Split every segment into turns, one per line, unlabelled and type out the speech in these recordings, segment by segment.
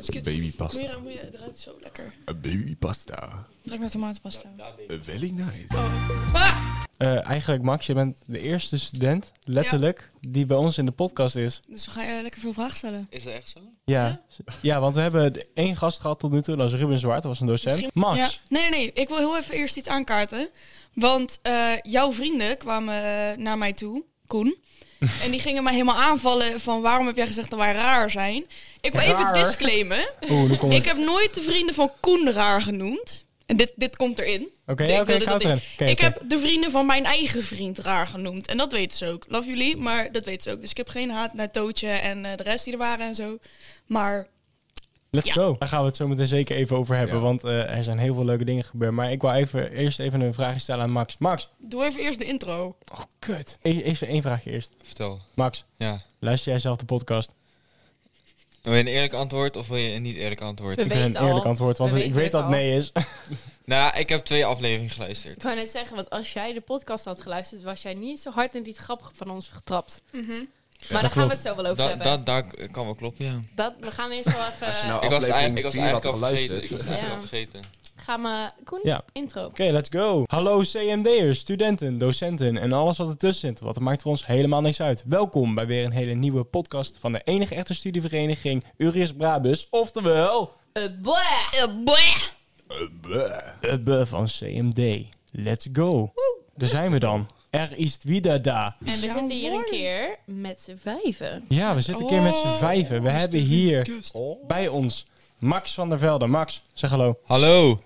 is cute. Moet je
Babypasta. Eh,
eraan- moet je- het ruikt zo lekker.
Babypasta. Eh,
Het ruikt naar tomatenpasta.
Very nice.
Ah!
Eh, eigenlijk, Max, je bent de eerste student, letterlijk, die bij ons in de podcast is.
Dus we gaan je lekker veel vragen stellen.
Is dat echt zo?
Ja. ja, want we hebben de- één gast gehad tot nu toe. Dat was Ruben Zwart, dat was een docent.
Misschien-
Max,
Ja. Nee, nee, nee. Ik wil heel even eerst iets aankaarten. Want eh, jouw vrienden kwamen eh, naar mij toe, Koen. en die gingen mij helemaal aanvallen van waarom heb jij gezegd dat wij raar zijn. Ik wil even
Raar?
disclaimen.
oeh, nu komt
Ik
het.
heb nooit de vrienden van Koen raar genoemd. En dit, dit komt erin.
Oké,
Ik
ja, oké,
wilde
ik houd
dat
erin. Oké,
ik
oké.
heb de vrienden van mijn eigen vriend raar genoemd. En dat weten ze ook. Love jullie, maar dat weten ze ook. Dus ik heb geen haat naar Tootje en eh, de rest die er waren en zo. Maar
Let's
Ja.
go. Daar gaan we het zo meteen zeker even over hebben,
Ja.
want eh, er zijn heel veel leuke dingen gebeurd. Maar ik wil even, eerst even een vraagje stellen aan Max. Max,
doe even eerst de intro.
oh kut. E- even één vraagje eerst.
Vertel.
Max,
Ja.
luister jij zelf de podcast?
Wil je een eerlijk antwoord of wil je een niet eerlijk antwoord?
We
ik wil een
weten al.
eerlijk antwoord, want
We
ik
weten
weet
het
dat het
al.
nee is.
Nou, ik heb twee afleveringen geluisterd.
Ik wou net zeggen, want als jij de podcast had geluisterd, was jij niet zo hard en niet grappig van ons getrapt. maar daar gaan
klopt.
we het zo wel over
Dat,
hebben. Dat,
dat, daar k- kan wel kloppen, ja.
we gaan eerst wel even...
Als je nou
ik was
aflevering
eigenlijk, ik was
4 had
eigenlijk al vergeten. Ik was
geluisterd.
eigenlijk
Ja.
al vergeten.
Gaan we... Koen,
Ja.
intro.
Oké, let's go. Hallo CMD'ers, studenten, docenten en alles wat ertussen zit. Want het maakt voor ons helemaal niks uit. Welkom bij weer een hele nieuwe podcast van de enige echte studievereniging Urius Brabus. Oftewel,
Eh, bleh!
Eh, bleh.
Eh, bleh.
het be van CMD. Let's go. Daar zijn we dan. Er is wieder da.
En we
Jouw
zitten hier een
woorden.
keer met z'n vijven.
Ja, we zitten een keer met z'n
Oh,
vijven. We hebben hier bij ons Max van der Velde. Max, zeg hallo.
Hallo.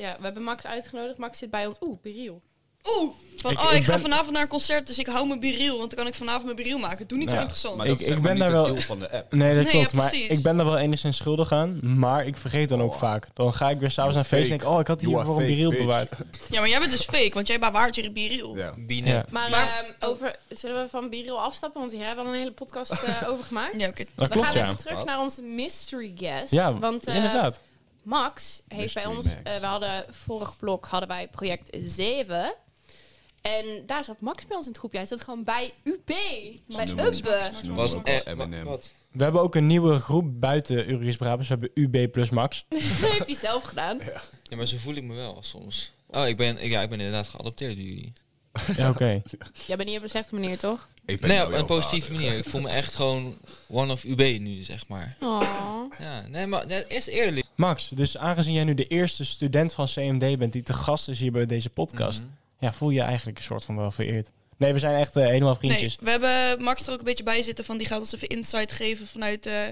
ja, we hebben Max uitgenodigd. Max zit bij ons. Oeh, Biriel.
Oeh, van,
Ik-
oh, ik,
ik
ga
ben-
vanavond naar een concert, dus ik hou mijn biriel, want dan kan ik vanavond mijn biriel maken. Doe niet
Nou
zo
ja,
interessant.
maar- Ik-
is
ik
zeg
ben
niet
daar
het
wel-
doel van de app.
Nee, dat
Nee,
klopt.
ja,
maar
precies.
ik ben er wel enigszins schuldig aan. Maar ik vergeet dan ook
Oh.
vaak. Dan ga ik weer s'avonds naar
You're
feest en
fake.
denk ik, oh, ik had
You
hiervoor
are
een
fake,
biriel
bitch.
bewaard.
Ja, maar jij bent dus fake, want jij bewaart je biriel.
Ja.
Biene.
Ja.
Maar,
Maar-
ehm, over, zullen we van Biriel afstappen? Want hier hebben we al een hele podcast eh, over gemaakt.
Ja, oké.
Dat
we
klopt,
gaan
ja.
even terug
Wat?
naar onze mystery guest.
Ja,
want eh,
inderdaad.
Max heeft
Mystery
bij ons...
Max.
eh, we hadden vorig blok hadden wij project 7. En daar zat Max bij ons in het groepje. Hij zat gewoon bij UB. Bij
noemen hem
Ubbe.
Ze noemen
was
hem ook
echt...
wel Eminem.
Wat?
We hebben ook een nieuwe groep buiten Uris Brabus. We hebben UB plus Max.
Dat heeft hij zelf gedaan.
Ja, maar zo voel ik me wel soms. Oh, ik ben, ja, ik ben inderdaad geadopteerd door jullie.
Ja, oké.
Jij bent niet op een slechte manier, toch?
Ik ben
Nee,
nou
op
jouw
een positieve
vader.
manier. Ik voel me echt gewoon one of UB nu, zeg maar.
Oh.
Ja, nee, maar dat is eerlijk.
Max, dus aangezien jij nu de eerste student van CMD bent die te gast is hier bij deze podcast.
Mhm.
Ja, voel je eigenlijk een soort van wel vereerd. Nee, we zijn echt eh, helemaal vriendjes.
Nee, we hebben Max er ook een beetje bij zitten van die gaat ons even insight geven vanuit eh,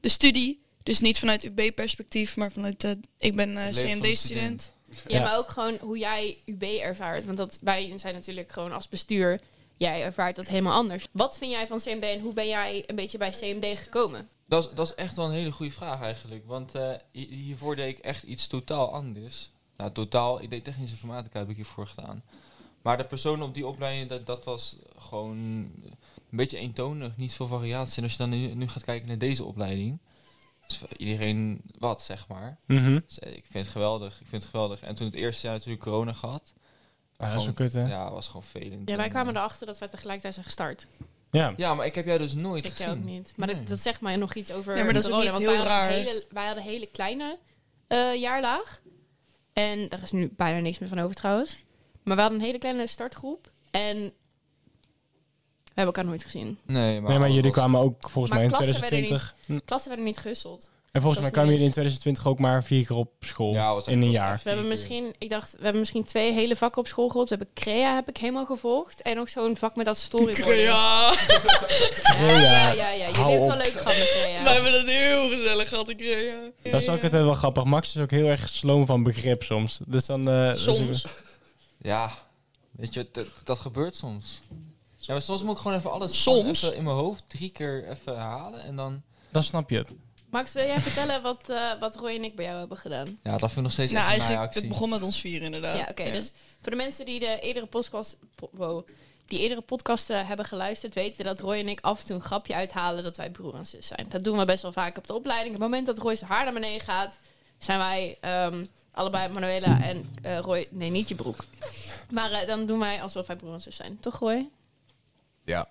de studie. Dus niet vanuit UB-perspectief, maar vanuit eh, ik ben
Het leven van de
CMD-student.
Ja,
Ja.
maar ook gewoon hoe jij UB ervaart. Want dat, wij zijn natuurlijk gewoon als bestuur, jij ervaart dat helemaal anders. Wat vind jij van CMD en hoe ben jij een beetje bij CMD gekomen?
Dat is, dat is echt wel een hele goede vraag eigenlijk. Want eh, hi- hiervoor deed ik echt iets totaal anders. Nou, totaal. Ik deed technische informatica heb ik hiervoor gedaan. Maar de personen op die opleiding, dat, dat was gewoon een beetje eentonig. Niet veel variatie. En als je dan nu, nu gaat kijken naar deze opleiding. is voor iedereen wat, zeg maar.
Mhm.
Dus, eh, ik vind het geweldig. Ik vind het geweldig. En toen het eerste jaar natuurlijk corona gehad.
Ja, dat is wel
Gewoon-
kut, hè? Ja.
Ja, was gewoon velend.
Ja, wij
En,
kwamen
eh,
erachter dat wij tegelijkertijd zijn gestart.
Ja, maar ik heb jou dus nooit
Ik
gezien.
jou ook niet. Maar
Nee.
dat, dat zegt mij nog iets over
Ja, maar dat is ook
corona,
niet
want
heel
wij hadden
raar.
Hele, wij hadden een hele kleine eh, jaarlaag. En daar is nu bijna niks meer van over trouwens. Maar we hadden een hele kleine startgroep. En we hebben elkaar nooit gezien.
Nee, maar,
Nee, maar jullie
alles-
kwamen ook volgens
Maar
mij in
klassen werden
2020.
Klassen werden niet gehusteld.
En volgens
zoals
mij kwamen
het nu
jullie in
is.
2020 ook maar vier keer op school.
Ja, was echt-
in een
was
jaar.
echt-
We hebben
Vier keer.
misschien, ik dacht, we hebben misschien twee hele vakken op school gehad. We hebben Crea heb ik helemaal gevolgd. En ook zo'n vak met dat storyboarden.
Ja,
Ja,
Crea.
ja, ja. ja. Jullie
Hou
hebben
op.
wel leuk gehad met Crea.
we hebben dat heel gezellig gehad. Ik, ja, ja.
Dat is ook altijd wel grappig. Max is ook heel erg sloom van begrip soms. Dus dan, eh, dat is ook-
Soms.
Ja, weet je, dat, dat gebeurt soms. Ja, maar soms moet ik gewoon even alles
Soms?
gewoon even in mijn hoofd drie keer even halen en dan...
dan snap je het.
Max, wil jij vertellen wat, eh, wat Roy en ik bij jou hebben gedaan?
Ja, dat vind ik nog steeds
Nou,
echt een
eigenlijk,
naaie
het
actie.
begon met ons vier inderdaad.
Ja, oké. Dus voor de mensen die de eerdere podcast, po- wow, die eerdere podcasten hebben geluisterd, weten dat Roy en ik af en toe een grapje uithalen dat wij broer en zus zijn. Dat doen we best wel vaak op de opleiding. Op het moment dat Roy zijn haar naar beneden gaat, zijn wij ehm, allebei Manuela en eh, Roy. Nee, niet je broek. Maar eh, dan doen wij alsof wij broer en zus zijn. Toch, Roy?
Ja.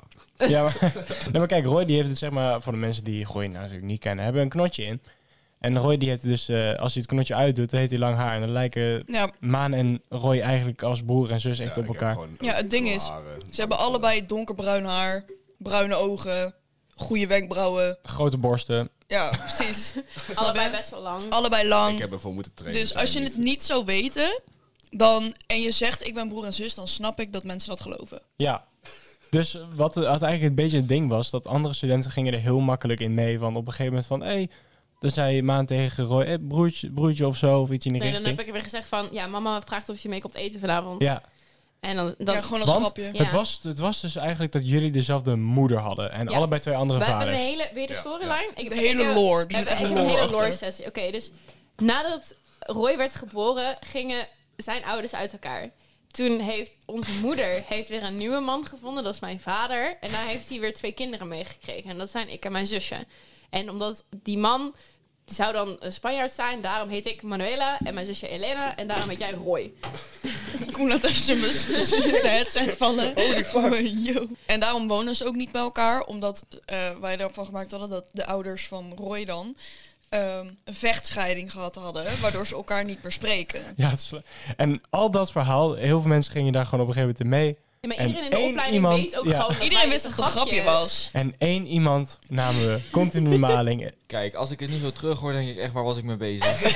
Ja, maar, nee, maar kijk, Roy die heeft het zeg maar, voor de mensen die Roy nou, natuurlijk niet kennen, hebben een knotje in. En Roy die heeft dus, eh, als hij het knotje uitdoet, dan heeft hij lang haar. En dan lijken
Ja,
Maan en Roy eigenlijk als broer en zus echt
Ja,
op
ik heb
elkaar.
gewoon
Ja, het ding is,
klare-
ze hebben allebei donkerbruin haar, bruine ogen, goede wenkbrauwen.
Grote borsten.
Ja, precies.
Allebei best wel lang.
allebei
Ik
lang.
heb ervoor moeten trainen.
Dus
zijn
als je het niet zou weten, dan en je zegt ik ben broer en zus, dan snap ik dat mensen dat geloven.
Ja. Dus wat het- uiteindelijk een beetje het ding was, dat andere studenten gingen er heel makkelijk in mee. Want op een gegeven moment van, hé, hey, dan zei Maan tegen Roy, hey, broertje, broertje of zo, of iets in die
Nee, dan
richting.
heb ik weer gezegd van, ja, mama vraagt of je mee komt eten vanavond.
Ja,
En dan, dan
ja, gewoon als
want-
grapje.
Ja.
Het, was, het was dus eigenlijk dat jullie dezelfde moeder hadden en
Ja.
allebei twee andere
we hebben
vaders.
een hele, weer de
Ja,
storyline. Ik,
De
ik
hele
heb-
lore.
We
Er zit
hebben
echt
echt een
lore
hele
achter.
lore sessie. Oké, dus nadat Roy werd geboren, gingen zijn ouders uit elkaar. Toen heeft onze moeder heeft weer een nieuwe man gevonden, dat is mijn vader. En daar heeft hij weer twee kinderen meegekregen. En dat zijn ik en mijn zusje. En omdat die man die zou dan een Spanjaard zijn, daarom heet ik Manuela en mijn zusje Elena. En daarom heet jij Roy.
Koen laat even zijn bes- zijn headset vallen. Holy fuck. En daarom wonen ze ook niet bij elkaar. Omdat eh, wij ervan gemaakt hadden dat de ouders van Roy dan ehm, een vechtscheiding gehad hadden. Waardoor ze elkaar niet meer spreken.
Ja, het is- en al dat verhaal, heel veel mensen gingen daar gewoon op een gegeven moment in mee.
En maar
En
iedereen in de
één
opleiding
iemand-
weet ook
ja.
gewoon dat
Iedereen
wij
wist dat
het
het een grapje was.
En één iemand namen we continu maling.
Kijk, als ik het nu zo terug hoor, denk ik echt, waar was ik mee bezig?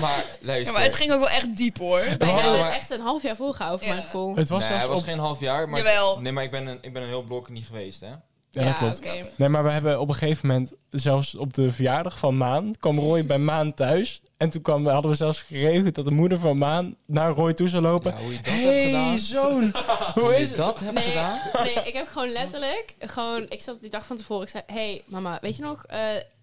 maar luister.
Ja, maar het ging ook wel echt diep hoor.
Wij
Oh,
hebben het
maar-
echt een half jaar volgehouden, voor
Ja.
mijn gevoel.
Het was
nee,
zelfs
het was
op...
geen half jaar. Maar
Jawel.
Nee, maar ik ben, een, ik ben een heel blok niet geweest, hè?
Ja, dat klopt.
oké.
Nee, maar we hebben op een gegeven moment, zelfs op de verjaardag van Maan, kwam Roy bij Maan thuis. En toen kwam, hadden we zelfs geregeld dat de moeder van Maan naar Roy toe zou lopen.
Ja, hoe je dat hebt
hey,
gedaan.
zoon, hoe
Hoe
is
je
het?
dat hebt
Nee,
gedaan?
nee, ik heb gewoon letterlijk, gewoon, ik zat die dag van tevoren, ik zei, hey, mama, weet je nog, eh,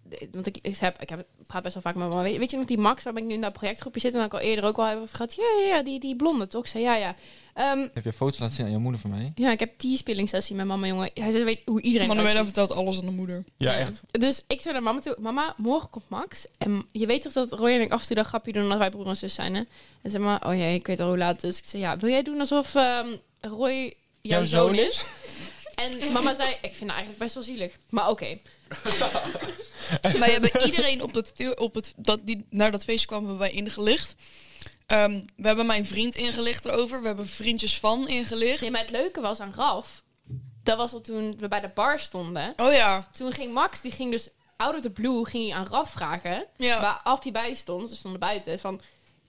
d- want ik, ik, heb, ik heb, ik praat best wel vaak met mama, weet, weet je nog die Max, waar ik nu in dat projectgroepje zit, en dat ik al eerder ook al heb over gehad, ja, ja, ja, die, die blonde, toch? Ik zei, ja, ja. Ehm,
Heb je foto's laten zien aan je moeder van mij?
ja, ik heb die sessie met mama, jongen. Hij zei, weet hoe iedereen
Manuela
eruit ziet.
vertelt alles aan de moeder.
Ja, echt.
Dus ik zei naar mama toe, mama, morgen komt Max. En je weet toch dat Roy en ik af en toe dat grapje doen dat wij broer en zus zijn, hè? En zei maar, oh jee, ik weet al hoe laat het is. Ik zei, ja, wil jij doen alsof ehm, Roy jouw,
Jouw
zoon,
zoon
is? En mama zei, ik vind het eigenlijk best wel zielig. Maar oké,
Wij hebben iedereen op dat, fil- op het, dat die naar dat feest kwam, hebben wij ingelicht. Ehm, we hebben mijn vriend ingelicht erover. We hebben vriendjes van ingelicht.
Nee, maar het leuke was aan Ralf, dat was al toen we bij de bar stonden.
Oh ja.
Toen ging Max, die ging dus out of the blue, ging hij aan Ralf vragen,
ja.
waar Af die bij stond, ze stonden buiten, van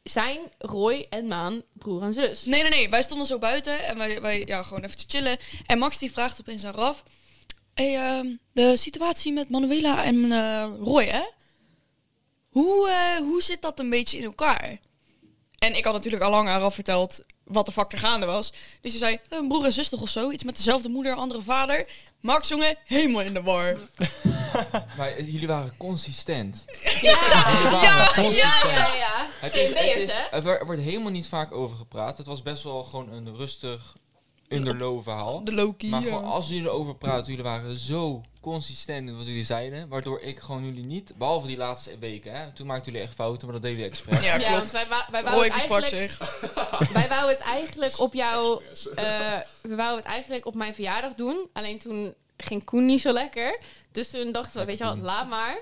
zijn Roy en Maan broer en zus?
Nee, nee, nee. Wij stonden zo buiten en wij, wij ja, gewoon even te chillen. En Max die vraagt opeens aan Raf... Hey, ehm, de situatie met Manuela en eh, Roy, hè? Hoe, eh, hoe zit dat een beetje in elkaar? En ik had natuurlijk al lang aan Raf verteld wat de fuck er gaande was. Dus hij zei, een broer en zus toch of zo? Iets met dezelfde moeder, andere vader. Max, jongen, helemaal in de war.
Maar eh, jullie waren consistent.
Ja,
Jullie waren consistent.
ja, ja. ja.
Het, is, het,
CMB'ers,
is,
hè?
er wordt- wordt helemaal niet vaak over gepraat. Het was best wel gewoon een rustig, underlow verhaal.
De Loki. eh.
Maar
ja.
gewoon als jullie erover praten, jullie waren zo consistent in wat jullie zeiden. Waardoor ik gewoon jullie niet, behalve die laatste weken, hè, toen maakten jullie echt fouten, maar dat deden jullie expres.
Ja,
Ja,
klopt.
want wij, wa- wij, wouden
Roy
het
versprak
eigenlijk,
zich.
wij wouden het eigenlijk op jou... eh, we wouden het eigenlijk op mijn verjaardag doen. Alleen toen ging Koen niet zo lekker. Dus toen dachten we, weet je wel,
Mm-hmm.
laat maar.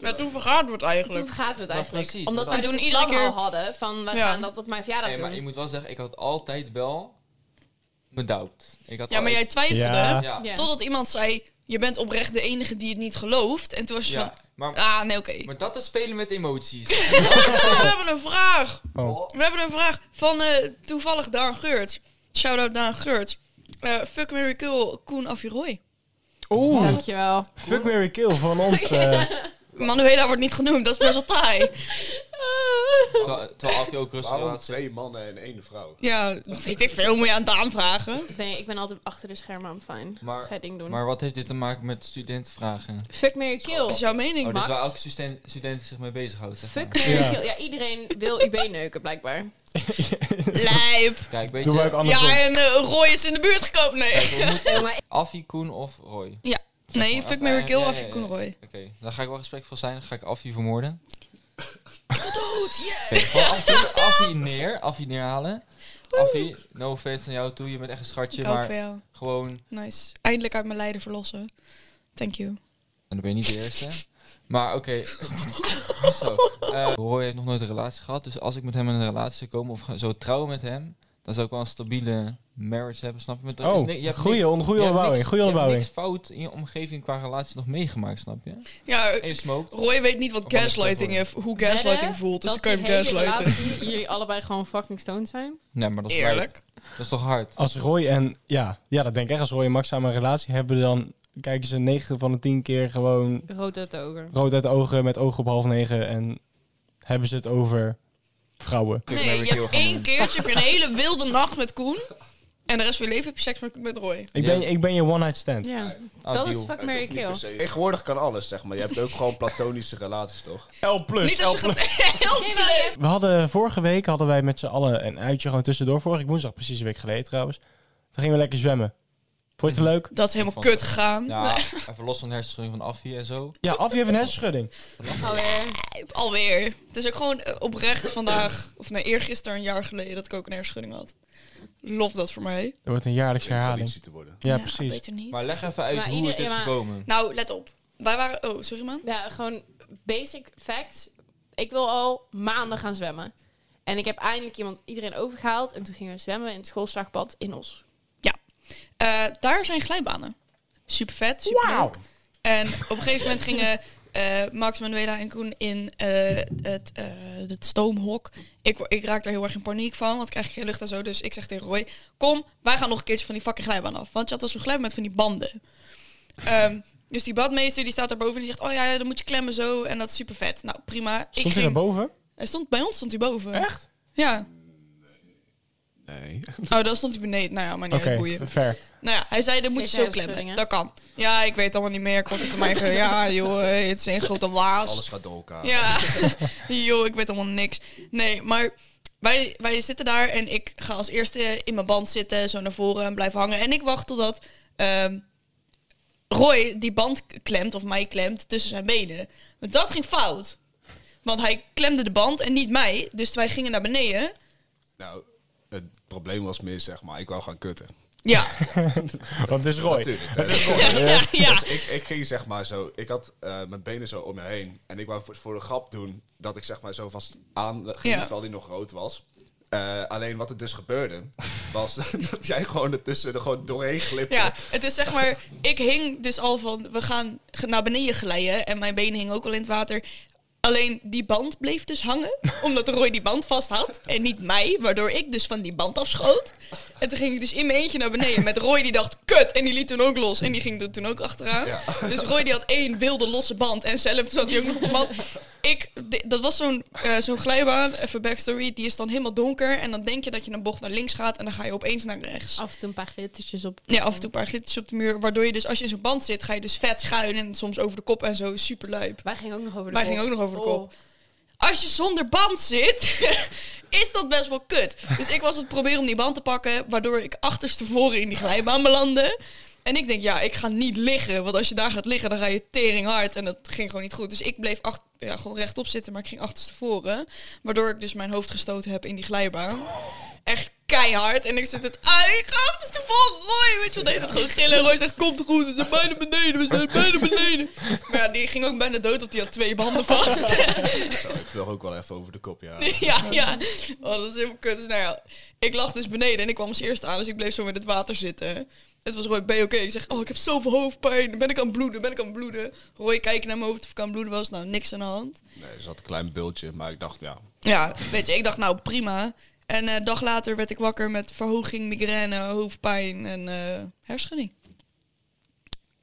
Maar toen vergaat wordt eigenlijk.
Toen gaat het eigenlijk.
precies,
Omdat
want
wij
we
doen
doen
iedere
iedere
keer al
keer-
hadden van, we
Ja.
gaan dat op mijn verjaardag
Nee, maar ik
doen.
moet wel zeggen, ik had altijd wel bedouwd. Ik had
Ja, maar jij
altijd-
twijfelde.
Ja.
Ja.
Ja.
Totdat iemand zei, je bent oprecht de enige die het niet gelooft. En toen was je
Ja,
van,
maar,
ah nee oké. Ah,
maar dat is spelen met emoties.
We hebben een vraag.
Oh.
We hebben een vraag van eh, toevallig Daan Geurts. Shout-out Daan Geurts. Eh, fuck, Mary Kill, Koen Afjeroy.
Oeh,
Dankjewel.
fuck Mary Kill van ons. eh.
Manuela wordt niet genoemd, dat is best wel taai.
Terwijl terwijl Afje ook rustig
Waarom
laat zijn.
twee mannen en één vrouw?
Ja, weet ik veel, moet je aan Daan vragen.
Nee, ik ben altijd achter de schermen aan fijn.
Maar-
Ga je ding doen.
Maar wat heeft dit te maken met studentenvragen?
Fuck, Mary
Dat
kill.
is jouw
Oh,
mening,
dus
Max.
waar elke student, student zich mee bezighoudt. Zeg
Fuck,
maar.
Mary
Ja.
kill. Ja, iedereen wil UB neuken, blijkbaar.
Lijp.
Kijk, weet
Doe maar ook
je,
andersom.
Ja, en eh, Roy is in de buurt gekomen. Nee,
Jongen,
Affie, Koen of Roy?
Ja.
Zeg
nee
maar,
fuck,
even-
Mary
ja,
Kill,
ja,
Afje,
ja,
Koen
ja.
Roy.
Oké, dan ga ik wel respectvol zijn. Dan ga ik Affie vermoorden. Goed, yeah! Oké, gewoon Affie, Affie neer. Affie neerhalen. Affie, no offense naar jou toe. Je bent echt een schatje,
Ik hou
maar
van jou.
gewoon...
Nice. Eindelijk uit mijn lijden verlossen. Thank you.
En dan ben je niet de eerste. Maar oké. Zo. Eh, Roy heeft nog nooit een relatie gehad. Dus als ik met hem in een relatie zou komen of ga- zou trouwen met hem... dan zou ik wel een stabiele marriage hebben, snap je? Want er is
Oh,
ni- je hebt
goeie,
niks-
on, goeie
je hebt
onderbouwing.
niks-
Goeie
Je
onderbouwing.
hebt niks fout in je omgeving qua relatie nog meegemaakt, snap je?
Ja,
En je smoked.
Roy weet niet wat
Of anders
gaslighting
wordt.
is, hoe gaslighting
Wedden
voelt. Dus
dat
ik kan
die
hem
hele
gaslighten.
relatie jullie allebei gewoon fucking stoned zijn.
Nee, maar dat is leuk.
Eerlijk.
Dat is toch hard?
Als Roy en... Ja, ja, dat denk ik echt. Als Roy en Max samen een relatie hebben, dan kijken ze 9 van de 10 keer gewoon
Rood uit de ogen.
rood uit de ogen met ogen op half negen. En hebben ze het over vrouwen.
Nee, je hebt één keertje heb je een hele wilde nacht met Koen. En de rest van je leven heb je seks met, met Roy.
Ik,
Ja.
ben, ik ben je one-night stand.
Ja,
Ah,
dat is
deal.
fuck Mary Kill.
Tegenwoordig kan alles, zeg maar. Je hebt ook gewoon platonische relaties, toch?
L plus.
niet als je gaat... Heel
Oké,
leuk.
maar-
We hadden vorige week hadden wij met z'n allen een uitje gewoon tussendoor. Vorige woensdag, precies een week geleden trouwens. Toen gingen we lekker zwemmen. Vond je het leuk?
Dat is helemaal kut gegaan.
Ja, even los van de hersenschudding van Affie en zo.
Ja, af je even een hersenschudding.
Alweer.
Alweer. Het is ook gewoon eh, oprecht vandaag, of nee, eergisteren een jaar geleden, dat ik ook een hersenschudding had. Lof dat voor mij.
Er wordt een jaarlijkse herhaling.
Traditie te worden.
Ja, precies.
Beter niet.
Maar leg even uit
Maar
hoe
ieder-
het is
ja, maar-
gekomen.
Nou, let op. Wij waren... Oh, sorry man.
Ja, gewoon basic facts. Ik wil al maanden gaan zwemmen. En ik heb eindelijk iemand, iedereen overgehaald. En toen gingen we zwemmen in het schoolslagpad in Os.
Eh, daar zijn glijbanen. Super vet, super En op een gegeven moment gingen eh, Max, Manuela en Koen in eh, het, eh, het stoomhok. Ik, wa- ik raak daar heel erg in paniek van, want ik krijg geen lucht en zo. Dus ik zeg tegen Roy, kom, wij gaan nog een keertje van die fucking glijbaan af. Want je had al zo'n glijbaan met van die banden. Ehm, dus die badmeester die staat daarboven en die zegt, oh ja, ja, dan moet je klemmen zo. En dat is super vet. Nou, prima.
Stond hij naar boven?
hij stond bij ons stond hij boven.
Echt?
Ja.
Nee.
Oh, dan stond hij beneden. Nou ja, maar niet uit,
Oké,
boeien.
fair.
Nou ja, hij zei, dan moet je zo
Steeds
klemmen.
hersenschuddingen.
Dat kan. Ja, ik weet allemaal niet meer. Ik hoorde het om mij. ge- Ja, joh, eh, het is een grote waas.
Alles gaat door elkaar.
Ja, joh, ik weet helemaal niks. Nee, maar wij, wij zitten daar en ik ga als eerste in mijn band zitten, zo naar voren en blijf hangen. En ik wacht totdat ehm, Roy die band k- klemt, of mij klemt, tussen zijn benen. Maar dat ging fout. Want hij klemde de band en niet mij. Dus wij gingen naar beneden.
Nou, het probleem was meer, zeg maar. Ik wou gaan kutten.
Ja,
Want het is Roy.
Natuurlijk. hè.
ja, ja.
Dus ik, ik ging zeg maar zo, ik had eh, mijn benen zo om me heen. En ik wou voor, voor de grap doen dat ik zeg maar zo vast aan ging,
Ja.
terwijl die nog rood was. Eh, alleen wat er dus gebeurde, was dat jij gewoon ertussen er gewoon doorheen glipte.
Ja, het is zeg maar, ik hing dus al van, we gaan ge- naar beneden glijden. En mijn benen hingen ook al in het water. Alleen die band bleef dus hangen, omdat Roy die band vast had en niet mij, waardoor ik dus van die band afschoot. En toen ging ik dus in mijn eentje naar beneden met Roy die dacht, kut, en die liet toen ook los en die ging er toen ook achteraan.
Ja.
Dus Roy die had één wilde losse band en zelf zat hij ook nog op de band. Ik, di- dat was zo'n eh, zo'n glijbaan, even backstory, die is dan helemaal donker en dan denk je dat je een bocht naar links gaat en dan ga je opeens naar rechts.
Af en toe een paar glittertjes op.
Ja, af en toe een paar glitters op de muur. Waardoor je dus als je in zo'n band zit, ga je dus vet schuin en soms over de kop en zo. Super lijp.
Wij gingen ook nog over de
Wij
kop.
gingen ook nog over de kop.
Oh.
Als je zonder band zit, is dat best wel kut. Dus ik was het proberen om die band te pakken, waardoor ik achterstevoren in die glijbaan belandde. En ik denk, ja, ik ga niet liggen. Want als je daar gaat liggen, dan ga je tering hard. En dat ging gewoon niet goed. Dus ik bleef achter, ja, gewoon rechtop zitten, maar ik ging achterstevoren. Waardoor ik dus mijn hoofd gestoten heb in die glijbaan. Echt keihard. En ik zit het, ah, ik ga achterstevoren, Roy. Weet je wel, deed het gewoon gillen. En Roy zegt, komt goed, we zijn bijna beneden, we zijn bijna beneden. Maar ja, die ging ook bijna dood, want die had twee banden vast.
Zo, ik vloog ook wel even over de kop, ja.
Ja, ja. Oh, dat is helemaal kut. Dus nou ja, ik lag dus beneden en ik kwam als eerste aan, dus ik bleef zo in het water zitten. Het was Roy, ben je oké? Ik zeg, oh, ik heb zoveel hoofdpijn. Ben ik aan het bloeden? Ben ik aan het bloeden? Roy kijkt naar mijn hoofd of ik aan het bloeden was. Nou, niks aan de hand.
Nee, er zat een klein bultje, maar ik dacht, ja,
Ja, weet je, ik dacht, nou, prima. En een dag later werd ik wakker met verhoging, migraine, hoofdpijn en eh hersenschudding.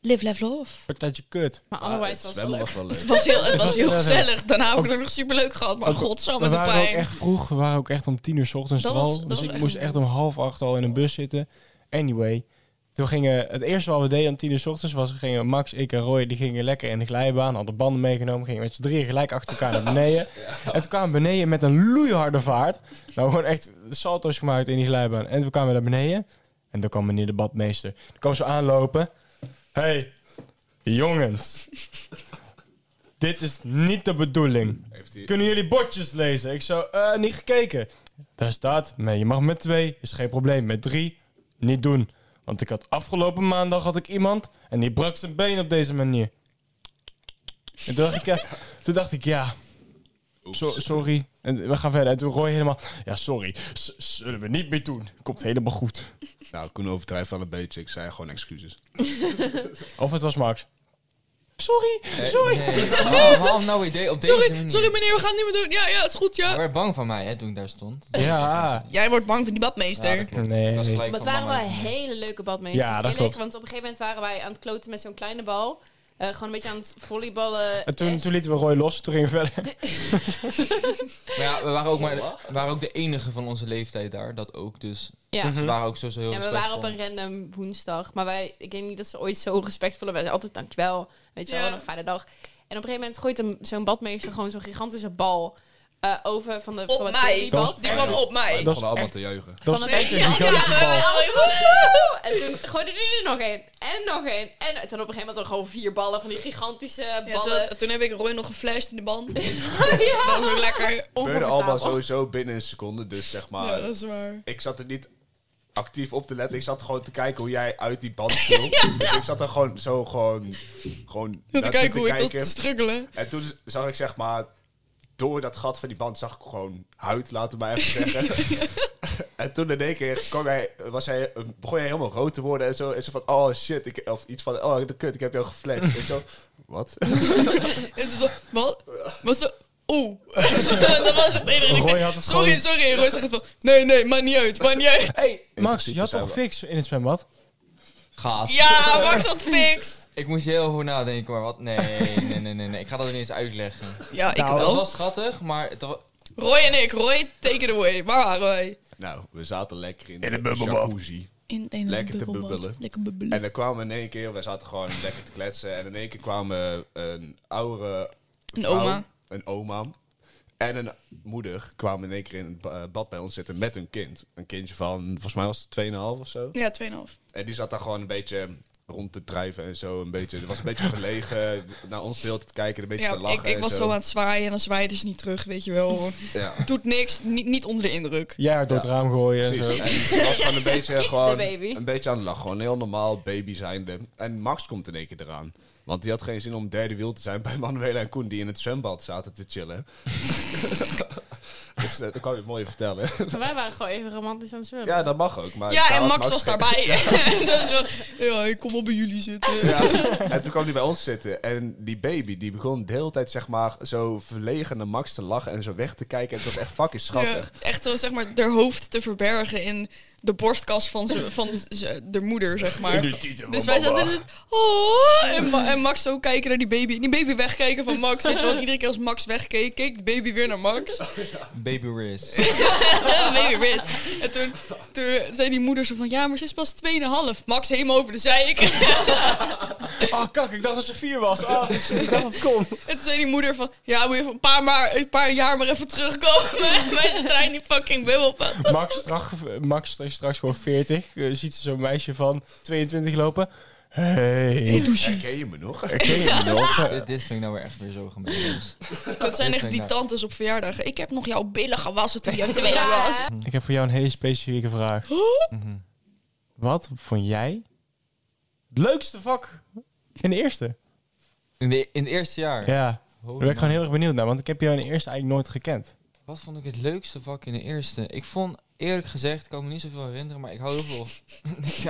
Live, love, love.
Partijtje kut.
Maar
maar
otherwise
het
was het
Ah, zwemmen
wel leuk.
was wel leuk.
Het was heel, het was heel
was- eh,
gezellig. Daarna heb ik het ook nog superleuk gehad, maar
Ook-
godsamme
We
de
waren ook
pijn.
echt vroeg. We waren ook echt om tien uur 's ochtends
Dat
al.
was- dat
dus
was
ik
echt
moest
een-
echt om half acht al in een bus zitten. Anyway. Toen gingen, het eerste wat we deden om tien uur 's ochtends was, gingen Max, ik en Roy, die gingen lekker in de glijbaan, hadden banden meegenomen, gingen met z'n drieën gelijk achter elkaar naar beneden. En toen kwamen we beneden met een loeiharde vaart. Nou, gewoon echt salto's gemaakt in die glijbaan. En toen kwamen we naar beneden. En toen kwam meneer de badmeester. Toen kwam ze aanlopen. Hé, hey, jongens. Dit is niet de bedoeling.
Heeft hij.
Kunnen jullie bordjes lezen? Ik zo, eh, niet gekeken. Daar staat, nee, je mag met twee, is geen probleem. Met drie, niet doen. Want ik had afgelopen maandag had ik iemand en die brak zijn been op deze manier. En toen dacht ik, ja, toen dacht ik, ja
Oeps.
so- sorry. En we gaan verder. En toen Roy helemaal, ja, sorry, z- zullen we niet meer doen. Komt helemaal goed.
Nou, Koen overdrijft wel een beetje. Ik zei gewoon excuses.
Of het was Max. Sorry, sorry.
Eh, Nee. Waarom- waarom nou weer de- op deze
Sorry,
manier?
sorry meneer, we gaan het niet meer doen. Ja, ja, is goed,
Hij
ja.
werd bang van mij hè, toen ik daar stond.
Ja.
Jij wordt bang van die badmeester.
Ja, dat klopt.
Nee.
Ik was gelijk
Maar het
van
waren
bang
wel
uit.
hele leuke badmeesters.
Ja, dat
eerlijk,
klopt.
Want op een gegeven moment waren wij aan het kloten met zo'n kleine bal. Eh, gewoon een beetje aan het volleyballen. Eh,
En toen,
Yes.
toen lieten we Roy los, toen gingen we verder.
Maar ja, we waren ook, maar, we waren ook de enige van onze leeftijd daar. Dat ook, dus
ja.
Mhm.
ze waren ook sowieso heel
Ja, we waren
respectvol.
op een random woensdag. Maar wij, ik denk niet dat ze ooit zo respectvol werden. Altijd dankjewel. Weet je
Ja.
wel, nog een fijne dag. En op een gegeven moment gooit een- zo'n badmeester gewoon zo'n gigantische bal eh, over van de van
Op
het
mij.
volleybal.
Die kwam op mij.
Dat
Dat
is
is allemaal te juichen.
Van
Dat
het
is echt
echt
een gigantische
Ja,
bal.
Woehoe! En toen gooide hij er nog één. En nog één. En toen op een gegeven moment hadden we gewoon vier ballen van die gigantische
Ja,
ballen.
toen, toen heb ik Roy nog geflasht in de band.
Ja.
Dat was ook lekker.
gebeurde allemaal
Oncomfortabel.
sowieso binnen een seconde. Dus zeg maar,
Ja, dat is waar.
ik zat er niet actief op te letten. Ik zat gewoon te kijken hoe jij uit die band viel. Dus ik zat er gewoon zo gewoon... gewoon
Om te
naartoe
kijken hoe ik dat
kijken.
te struggelen.
En toen zag ik zeg maar... Door dat gat van die band zag ik gewoon huid, laten we maar even zeggen. en toen in één keer kwam hij, was hij, begon hij helemaal rood te worden en zo. En zo van, oh shit, ik, of iets van, oh de kut, ik heb jou geflasht. en zo, wat?
Het is wel- Wat? Was dat... Oeh. dat was het. Nee, nee,
Roy
nee.
had het
Sorry,
gewoon-
sorry. Roy zegt het wel. Nee, nee, maakt niet uit. Maakt niet uit.
hey, Max, je
principe
had
zijn
toch
we-
fix in het zwembad?
Gaas.
Ja, Max had fix.
Ik moest heel goed nadenken, maar wat? Nee, nee, nee, nee, nee. Ik ga dat ineens uitleggen.
Ja, ik
Oh.
Nou,
Dat
wel.
was schattig, maar het wa-
Roy en ik. Roy, take it away. Waar waren wij?
nou, we zaten lekker in,
In een
de
bubbelbad.
jacuzzi.
In een
Lekker te bubbelbad. bubbelen.
Lekker bubbelen.
En dan kwamen in één keer, we zaten gewoon lekker te kletsen. En in één keer kwamen een oudere
Een
vrouw,
oma.
een oma en een moeder kwamen in één keer in het ba- eh, bad bij ons zitten met hun kind. Een kindje van, volgens mij was het 2,5 of zo.
Ja, 2,5.
En die zat daar gewoon een beetje rond te drijven en zo. Een beetje, was een beetje verlegen naar ons de hele tijd te kijken, een beetje
Ja,
te lachen
ik, ik
en
was zo aan het zwaaien en dan zwaaide ze niet terug, weet je wel.
Ja,
Doet niks, niet, niet onder de indruk.
Ja, door het
Ja,
raam gooien en
precies.
zo.
En ze was gewoon een beetje, gewoon,
baby.
een beetje aan het lachen. Gewoon heel normaal, baby zijnde. En Max komt in één keer eraan. Want die had geen zin om derde wiel te zijn bij Manuela en Koen... die in het zwembad zaten te chillen. dus eh, dat kan je het mooi vertellen.
Maar wij waren gewoon even romantisch aan het zwemmen.
ja, dat mag ook. Maar
Ja,
daar
en
had
Max was
geen-
daarbij. dus wel, ja, ik kom wel bij jullie zitten.
Ja. En toen kwam hij bij ons zitten. En die baby die begon de hele tijd zeg maar, zo verlegen naar Max te lachen... en zo weg te kijken. En het was echt fucking schattig.
Ja, echt wel, zeg maar, haar hoofd te verbergen in de borstkas van, ze, van ze, de moeder, zeg maar. Dus wij zaten in het, oh, en, Ma- en Max zo kijken naar die baby. En die baby wegkijken van Max, weet je wel. En Iedere keer als Max wegkeek, keek de baby weer naar Max.
baby Riz.
Ja, baby wist. En toen, toen zei die moeder zo van, ja, maar ze is pas 2,5. Max helemaal over de zeik.
Ah, kak, ik dacht dat ze vier was. Ah, ik dacht dat het kon.
En toen zei die moeder van, ja, moet je even een paar, maar, een paar jaar maar even terugkomen. wij zitten in die fucking bubbel van.
Max, straks, Max is straks gewoon 40. eh, ziet ze zo'n meisje van 22 lopen. Hey,
Herken je me nog?
ken je me nog? Eh,
dit, dit vind ik nou weer echt weer zo gemeen.
Dat zijn echt die tantes op verjaardagen. Ik heb nog jouw billen gewassen toen je twee jaar was.
Ik heb voor jou een hele specifieke vraag.
Mhm.
Wat vond jij het leukste vak in de eerste?
In, de- in het eerste jaar.
Ja, daar
Holy
ben ik gewoon
man.
heel erg benieuwd naar, want ik heb jou in de eerste eigenlijk nooit gekend.
Wat vond ik het leukste vak in de eerste? Ik vond, eerlijk gezegd, ik kan me niet zoveel herinneren, maar ik hou heel veel...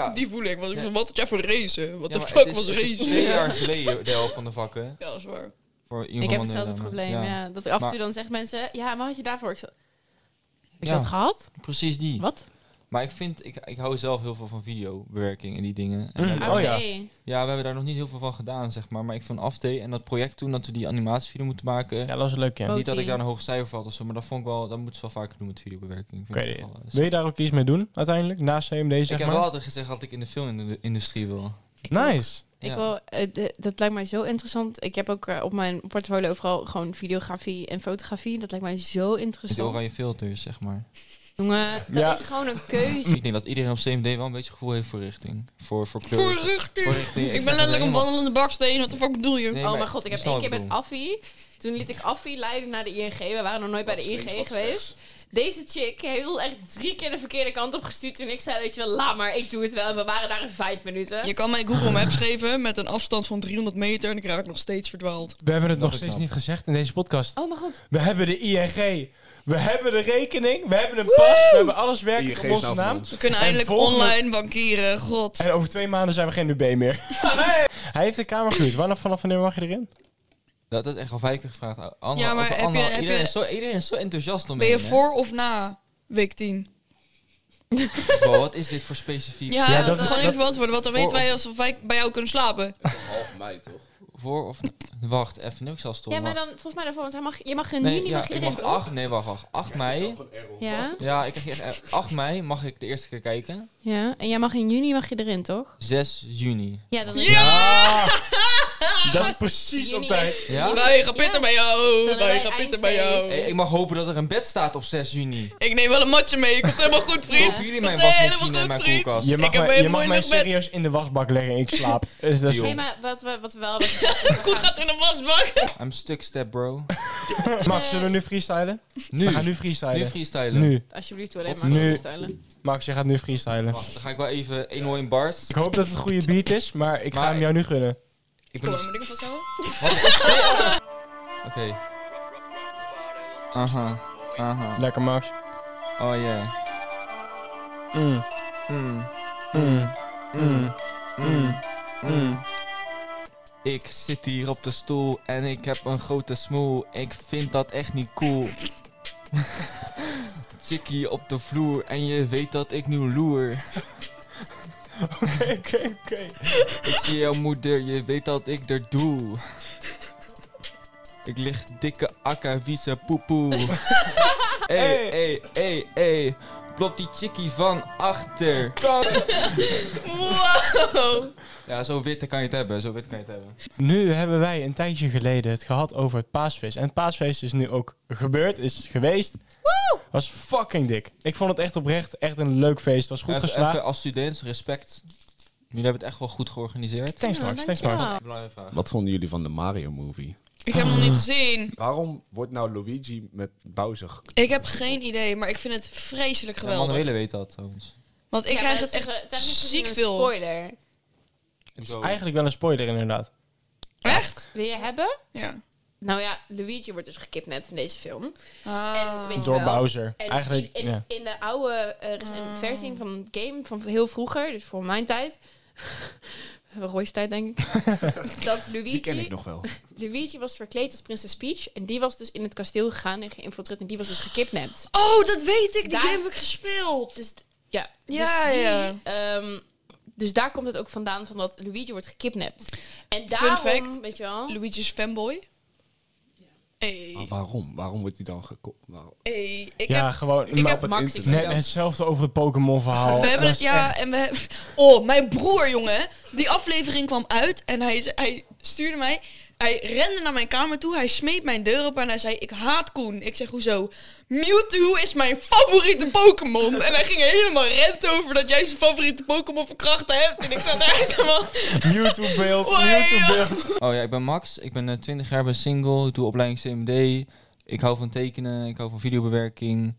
ja.
Die voel ik. Want ik
Ja.
dacht, wat had jij voor race? Wat
Ja,
de
maar
fuck
het is-
was
het is
race?
twee jaar geleden de helft van de vakken.
Ja, dat is waar.
Voor
Ik heb hetzelfde probleem, ja. Dat ik af en toe dan zegt mensen, ja, maar had je daarvoor? Ik zo, heb je
Ja.
dat gehad?
Precies die.
Wat?
Maar ik vind, ik, ik hou zelf heel veel van videobewerking en die dingen. En
Mm.
daar-
Oh ja.
AVE.
Ja, we hebben daar nog niet heel veel van gedaan, zeg maar. Maar ik vond AFT en dat project toen dat we die animatievideo moeten maken.
Ja, dat was leuk, ja.
Oh.
Niet dat ik
Oké.
daar een hoog cijfer vat of zo, maar dat vond ik wel, dat moeten ze wel vaker doen met videobewerking. Vind
Oké,
ik, wel, eh,
Wil je daar ook iets mee doen, uiteindelijk, na CMD,
ik
zeg
heb wel
maar?
altijd gezegd dat ik in de filmindustrie wil.
Ik wil-
Nice.
Ik
Ja.
wil, eh, d- dat lijkt mij zo interessant. Ik heb ook eh, op mijn portfolio overal gewoon videografie en fotografie. Dat lijkt mij zo
Met die
interessant.
oranje filters, zeg maar.
Jongen, dat
Ja.
is gewoon een keuze.
Ik denk dat iedereen op CMD wel een beetje gevoel heeft voor richting. Voor, voor kleur.
Voor richting.
Voor richting.
Ik
Ik
ben
zeg
letterlijk een
helemaal-
wandelende baksteen. Wat de fuck bedoel je?
Nee,
oh
maar
mijn god, ik
je
heb
snapt
één keer
wat ik
met Affie. Toen liet ik Affie leiden naar de ING. We waren nog nooit
E
bij de ING geweest. Deze chick heeft echt drie keer de verkeerde kant op gestuurd. Toen ik zei, weet je wel, laat maar, ik doe het wel. En we waren daar in vijf minuten.
Je kan mij Google Maps geven met een afstand van 300 meter en ik raak nog steeds verdwaald.
We hebben het nog
is
steeds
knap.
niet gezegd in deze podcast.
Oh mijn god.
We hebben de ING. We hebben de rekening. We hebben een pas. We hebben alles werkelijk
E
op
nou
onze naam.
We kunnen
En
eindelijk
volgende-
online bankieren, god.
En over twee maanden zijn we geen UB meer. Hey! Hij heeft een kamer gehuurd. Wanneer vanaf wanneer mag je erin?
Dat is echt al vijf keer gevraagd. Anna,
Ja, maar
over
heb
Anna.
je- heb
iedereen,
je-
is zo, iedereen is zo enthousiast om
Ben je
heen, hè?
voor of na week 10?
Wow, wat is dit voor specifiek?
Ja,
Ja,
dat,
dat-
gewoon even
dat-
verantwoord worden, want dan
Voor-
weten wij alsof wij bij jou kunnen slapen.
Half mei, toch?
Voor of... Wacht, even. Nu ik zal stoppen.
Ja, maar dan, volgens mij daarvoor, want hij mag, je mag in
Nee,
juni
ja,
mag je
ik
erin,
mag
toch?
8... Nee, wacht, wacht. 8 mei...
Ja,
Ja, ik krijg hier echt... 8 mei mag ik de eerste keer kijken.
ja, en jij mag in juni mag je erin, toch?
6 juni.
Ja, dan
Ja!
Dat is precies op
Juni
tijd.
is-
Ja?
Wij gaan pitten
Ja.
bij jou,
Dan
wij
hebben
gaan
wij
pitten bij jou.
eindfeest.
Hey, ik mag hopen dat er een bed staat op 6 juni.
Ik neem wel een matje mee, komt helemaal goed, vriend.
Kopen jullie mijn
Komt helemaal
wasmachine en
goed,
mijn
vriend.
koelkast?
Je mag,
Ik heb
mij-
een
je mag
mooi
mij
nog bed.
serieus in de wasbak leggen. Ik slaap. Dus dat is-
Nee, maar wat we, wat we wel hebben gezegd,
Goed gaat in de wasbak.
I'm stuck step, bro.
Max, zullen we nu freestylen?
Nu.
We gaan nu
Nu
freestylen.
freestylen.
Nu.
alsjeblieft, doe alleen
God,
maar
nu.
stellen.
Max, je gaat nu freestylen.
Wacht, dan ga ik wel even 1-0 in bars.
Ik hoop dat het een goede beat is, maar ik ga
Maar-
hem jou nu gunnen.
Ik ben...
Kom,
nog-
moet ik hem vasthouden?
Oké. Aha. Aha.
Lekker, Max.
Oh ja.
Mm,
Mm.
mm,
Mm.
mm, mm.
Mm. Ik zit hier op de stoel en ik heb een grote smoel. Ik vind dat echt niet cool. Chickie op de vloer en je weet dat ik nu loer.
Oké, oké, oké.
Ik zie jouw moeder, je weet dat ik er doe. Ik lig dikke akka, vieze poepoe. Ey, ey, ey, ey. Plop die chickie van achter.
Wow!
Ja, zo wit kan je het hebben, zo wit kan je het hebben.
Nu hebben wij een tijdje geleden het gehad over het paasfeest. En het paasfeest is nu ook gebeurd, is geweest. Was fucking dik. Ik vond het echt oprecht echt een leuk feest. Was goed
Even-
geslaagd.
Even als student, respect. Jullie hebben het echt wel goed georganiseerd.
Thanks,
Ja,
Max. Thanks,
dankjewel.
Max.
Belangrijke vraag.
Wat vonden jullie van de Mario movie?
Ik heb hem nog niet gezien.
Waarom wordt nou Luigi met Bowser gek-
Ik heb geen idee, maar ik vind het vreselijk
Ja,
geweldig.
Manuele weet dat, trouwens.
Want ik
Ja,
krijg
maar
het
dat is,
echt
eh, technisch gezien
ziek
een
veel.
spoiler.
Eigenlijk wel een spoiler, inderdaad.
Echt?
Wil je hebben?
Ja.
Nou ja, Luigi wordt dus gekidnapt in deze film.
Ah.
weet je-
Door
Wel.
Bowser.
En
Eigenlijk,
in, in,
ja.
in de oude eh, rec-
Ah.
versie van het game van heel vroeger, dus voor mijn tijd. Roy's tijd, denk ik. dat
Die ken ik
Luigi,
nog wel.
Luigi was verkleed als prinses Peach. En die was dus in het kasteel gegaan en geïnfiltreerd. En die was dus gekidnapt.
Oh, dat weet ik. Die
Daar-
game heb ik gespeeld.
Dus d- ja.
Ja,
dus die,
ja.
ehm, dus daar komt het ook vandaan van dat Luigi wordt gekidnapt. En daarom,
fact.
weet je wel...
Luigi's fanboy. Hey.
Maar waarom? Waarom wordt hij dan gekocht?
Hey. Ik
Ja,
heb...
gewoon...
ik
maar-
heb
Max,
Max
ik
ik
zie
Net hetzelfde over het Pokémon-verhaal.
We hebben
Dat
het,
is
ja,
echt-
en we hebben... Oh, mijn broer, jongen. Die aflevering kwam uit en hij, ze- hij stuurde mij... Hij rende naar mijn kamer toe, hij smeet mijn deur op en hij zei... Ik haat Koen. Ik zeg, hoezo? Mewtwo is mijn favoriete Pokémon. En hij ging helemaal rent over dat jij zijn favoriete Pokémon verkrachten hebt. En ik zat daar helemaal...
YouTube-beeld,
Oei,
YouTube-beeld.
Oh ja, ik ben Max. Ik ben eh, 20 jaar, ben single. Ik doe opleiding CMD. Ik hou van tekenen. Ik hou van videobewerking.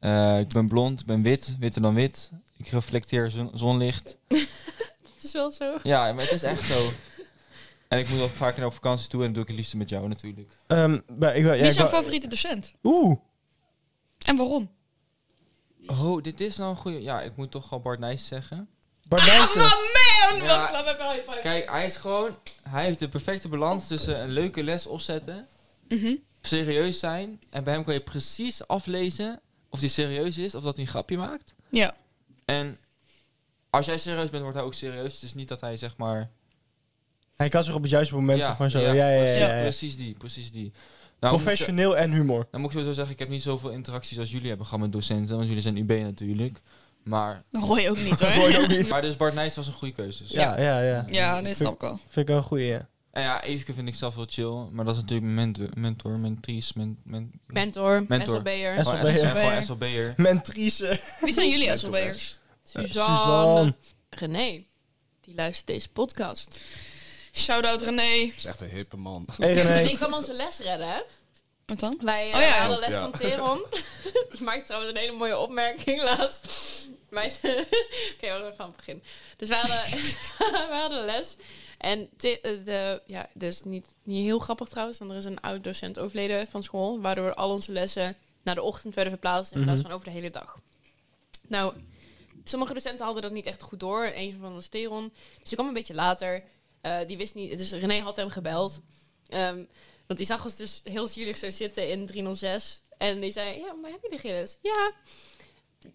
Eh, ik ben blond. Ik ben wit. Witter dan wit. Ik reflecteer zon- zonlicht.
Het is wel zo.
Ja, maar het is echt zo. En ik moet wel vaker naar op vakantie toe. En dat doe ik het liefst met jou natuurlijk.
Ehm, maar ik wil- ja,
Wie
ik
is jouw
wil-
favoriete docent?
Oeh.
En waarom?
Oh, dit is nou een goede... Ja, ik moet toch al Bart Nijs zeggen.
Bart Nijssen.
Ah, man!
Ja.
Wacht, laat me even high five.
Kijk, hij is gewoon... Hij heeft de perfecte balans tussen een leuke les opzetten...
Mhm.
serieus zijn. En bij hem kan je precies aflezen of hij serieus is of dat hij een grapje maakt.
Ja.
En als jij serieus bent, wordt hij ook serieus. Het is niet dat hij zeg maar.
Hij kan zich op het juiste moment, zeg maar zo. Ja, ja, ja.
precies,
ja, Nou, ja.
precies die, precies die. Nou, moet ik zo-
Professioneel en humor.
Dan moet ik sowieso zeggen, ik heb niet zoveel interacties als jullie hebben gehad met docenten, want jullie zijn UB natuurlijk. Maar,
Dan gooi je ook niet,
Gooi
hoor.
ook niet.
maar dus Bart Nijs was een goede keuze. Dus
Ja, ja, ja.
Ja, dat snap ik wel.
Vind ik wel een goeie, ja.
En ja, Eefke vind ik zelf wel chill. Maar dat is natuurlijk mijn ment- mentor, mentrice, men, men,
Mentor,
Mentor.
SLB'er.
En-
Gewoon
SLB'er.
SLB'er. Gewoon SLB'er.
Mentrice.
Wie zijn jullie
Mentor
SLB'ers?
Suzanne. René, die luistert deze podcast.
Shout-out René.
is echt een hippe man.
Hey
René
René.
kwam onze les redden, hè?
Wat dan?
Wij eh,
Oh ja.
hadden les
Ja.
van Teron. Die maakte trouwens een hele mooie opmerking laatst. Wij z- Oké, we gaan van het begin. Dus wij hadden, wij hadden les. En Te- eh, de, ja, dit is niet, niet heel grappig trouwens, want er is een oud docent overleden van school. Waardoor al onze lessen naar de ochtend werden verplaatst in plaats
Mhm.
van over de hele dag. Nou, sommige docenten hadden dat niet echt goed door. Een van ons Theron. Dus die kwam een beetje later. Eh, die wist niet, dus René had hem gebeld. Ehm, want die zag ons dus heel zielig zo zitten in 306. En die zei, ja, maar heb je de Gilles? Ja.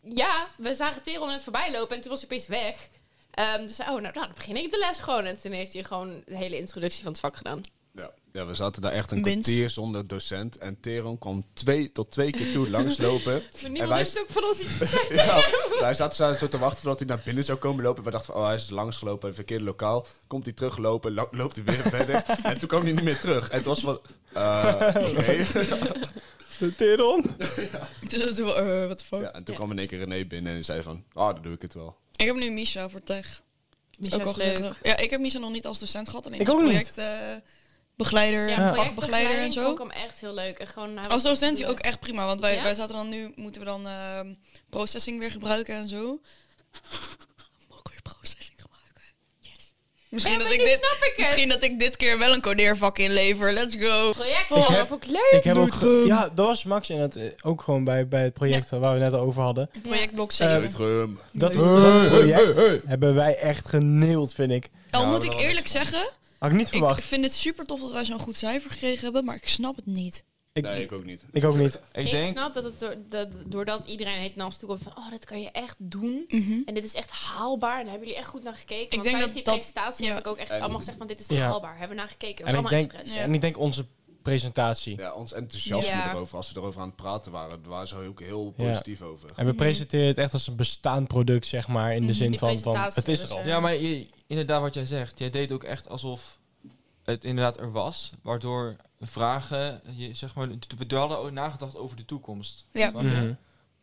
Ja, we zagen Teron net voorbij lopen en toen was hij opeens weg. Ehm, dus zei, oh, nou, nou, dan begin ik de les gewoon. En toen heeft hij gewoon de hele introductie van het vak gedaan.
Ja. ja, we zaten daar echt een
Winst.
kwartier zonder docent. En Teron kwam twee tot twee keer toe langslopen.
Maar
En
niemand
wij-
heeft ook van ons iets gezegd.
Ja, wij zaten zo- zo te wachten dat hij naar binnen zou komen lopen. We dachten van, oh, hij is langsgelopen in het verkeerde lokaal. Komt hij teruglopen, lo- loopt hij weer verder. En toen kwam hij niet meer terug. En het was van, eh, oké.
Teron.
Dus dat doen we, eh, what the fuck.
Ja, en toen kwam in één keer René binnen en zei van, ah, dan doe ik het wel.
Ik heb nu Misha voor tech.
Misha is
gezegd,
leuk.
hoor. Ja, ik heb Misha nog niet als docent gehad. Alleen
Ik
als
ook niet.
projectbegeleider
Ja,
en
projectbegeleider
vakbegeleider en zo.
vond ik hem echt heel leuk. En gewoon, nou, hij
Als
was-
docent is hij ook echt prima. Want wij,
Ja?
wij zaten dan nu, moeten we dan ehm, processing weer gebruiken en zo. Mogen we weer processing gebruiken? Yes. Misschien,
Ja, maar
dat ik
nu
dit,
snap ik het.
misschien dat ik dit keer wel een codeervak inlever. Let's go.
project
Ik
oh,
heb-
dat vond ik leuk.
Ik heb ook... ge- Ja, dat was Max en dat eh, ook gewoon bij, bij het project waar we net over hadden.
Projectblok 7.
Leutrum.
Dat,
Leuk.
dat project hebben wij echt geneeld, vind ik.
Al
Ja,
moet
dat
ik
wel
eerlijk zeggen,
Had ik niet
ik
verwacht.
vind het super tof dat wij zo'n goed cijfer gekregen hebben. Maar ik snap het niet.
Ik,
Nee, ik ook niet.
ik ook niet.
Ik,
Ik,
denk,
snap dat het door, dat, doordat iedereen heeft naar ons toe komt van, oh, dat kan je echt doen.
Mhm.
En dit is echt haalbaar. En daar hebben jullie echt goed naar gekeken.
Ik
want
denk
tijdens
dat
die
dat-
presentatie
ja.
heb ik ook echt
En-
allemaal gezegd van dit is
Ja.
haalbaar. Hebben we naar gekeken. Dat
En
was
ik,
allemaal
denk,
expres.
Ja.
en ik denk onze presentatie.
Ja, ons enthousiasme
Ja.
erover, als we erover aan het praten waren, daar waren ze ook heel
Ja.
positief over.
En we presenteren het echt als een bestaand product, zeg maar. In de
Mhm.
zin
Die
van, van
presentatie
het is er
dus,
al.
eh,
ja, maar je- inderdaad wat jij zegt. Jij deed ook echt alsof het inderdaad er was. Waardoor vragen, je, zeg maar, we hadden ook nagedacht over de toekomst.
Ja.
Snap je?
Mhm.